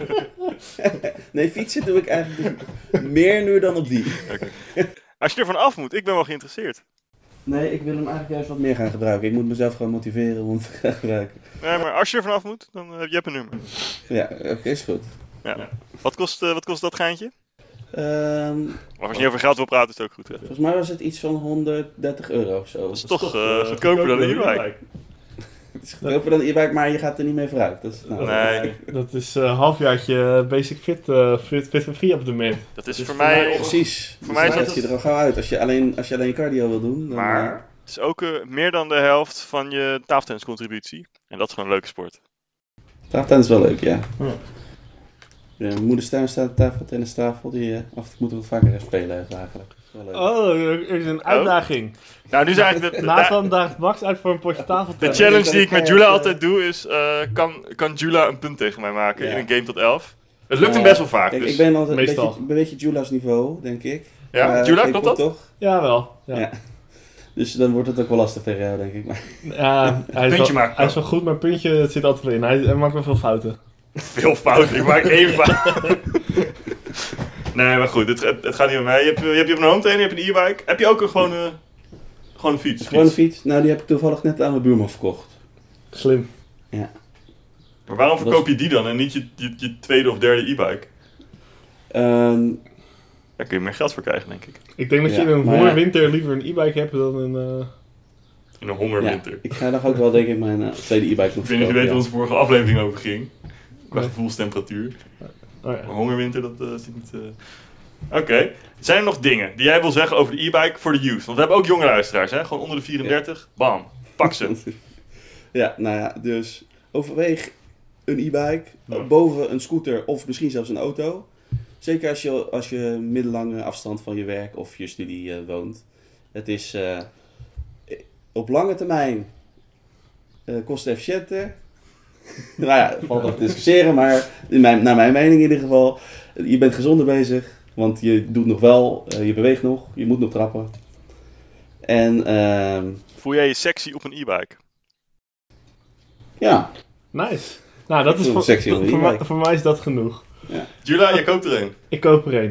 B: nee, fietsen doe ik eigenlijk meer nu dan op die.
C: Als je ervan af moet, ik ben wel geïnteresseerd.
B: Nee, ik wil hem eigenlijk juist wat meer gaan gebruiken. Ik moet mezelf gewoon motiveren om het te gaan gebruiken.
C: Nee, maar als je ervan af moet, dan heb je hebt een nummer.
B: Ja, oké, is goed.
C: Wat kost, eh, wat kost dat geintje?
B: Ehm,
C: Of als je niet over geld wil praten, is het ook goed. Hè?
B: volgens mij was het iets van 130 euro of zo.
C: Dat is toch eh, goedkoper dan een e-bike.
B: Het is goedkoper dan e-bike, maar je gaat er niet mee vooruit. Dat is, nou,
C: Nee,
A: Dat is een halfjaartje Basic Fit, eh, fit, fit and Free abonnement.
C: dat is
A: Dus
C: voor
A: voor
C: mij...
A: mij-
B: Precies.
C: Voor mij is
B: dat
C: dat
B: je
C: het-
B: er al gauw uit. Als je alleen, als je alleen cardio wil doen, dan...
C: Maar-
B: eh,
C: Het is ook eh, meer dan de helft van je tafeltenniscontributie. En dat is gewoon een leuke sport.
B: Tafeltennis is wel leuk, ja.
A: Ja.
B: Ja, mijn moeder Stijn staat aan de tafeltennistafel. Die eh, af en toe moeten we wat vaker spelen even eigenlijk. Dat is wel leuk.
A: Oh, er is een uitdaging.
C: Nou, nu is eigenlijk de, de,
A: Nathan daagt Max uit voor een potje
C: de
A: tafeltennis.
C: challenge die ik met Jula altijd doe is... eh, kan, kan Jula een punt tegen mij maken
B: Ja.
C: in een game tot 11? Het lukt hem
B: Ja.
C: best wel vaak.
B: Kijk,
C: dus.
B: ik ben altijd een
A: Meestal.
B: beetje, een beetje Jula's niveau, denk ik.
C: Ja,
B: Maar,
C: Jula,
B: ik
C: klopt
B: kom
C: dat?
B: Toch?
A: Jawel. Ja.
B: Ja. Dus dan wordt het ook wel lastig tegen jou, denk ik. Maar,
A: Ja, hij, is
C: Puntje
A: wel,
C: maken.
A: hij is wel goed, maar puntje het zit altijd wel in. Hij, hij maakt wel veel fouten.
C: Veel fouten, ik maak één fout. nee, maar goed, het, het, het gaat niet om mij. Je hebt je, hebt je op een home trainer, je hebt een e-bike. Heb je ook een gewone, gewoon een fiets?
B: gewoon een
C: fiets?
B: fiets. Nou, die heb ik toevallig net aan mijn buurman verkocht.
A: Slim.
C: Maar waarom
B: Dat
C: verkoop je die dan en niet je, je, je tweede of derde e-bike?
B: Ehm,
C: Daar kun je meer geld voor krijgen, denk ik.
A: Ik denk dat je
B: Ja,
A: in een
B: maar ja.
A: mooie winter liever een e-bike hebt dan een... eh,
C: In
B: ja,
C: een hongerwinter.
B: ik ga nog ook wel, denk ik, mijn eh, tweede e-bike nog
C: Ik weet niet of je weet
B: verkopen,
C: waar onze vorige aflevering over ging. Qua
A: Nee.
C: gevoelstemperatuur.
A: oh ja.
C: Maar hongerwinter, dat eh, zit niet... eh. Oké. Zijn er nog dingen die jij wil zeggen over de e-bike voor de youth? Want we hebben ook jonge luisteraars, hè? Gewoon onder de 34. Bam. Pak ze.
B: Ja, nou ja, dus overweeg een e-bike
D: Ja.
B: boven een scooter of misschien zelfs een auto. Zeker als je, als je middellange afstand van je werk of je studie eh, woont. Het is eh, op lange termijn eh kostenefficiënter. nou ja, valt nog te discussiëren, maar in mijn, naar mijn mening in ieder geval. eh, Je bent gezonder bezig, want je doet nog wel, eh, je beweegt nog, je moet nog trappen. En ehm,
C: Voel jij je sexy op een e-bike?
B: ja,
A: Nice. Nou, dat
B: Ik
A: is
B: voel
A: voor,
B: me sexy op een
A: voor,
B: e-bike.
A: mij- voor mij is dat genoeg.
C: Jula, je koopt er een.
A: Ik koop er een.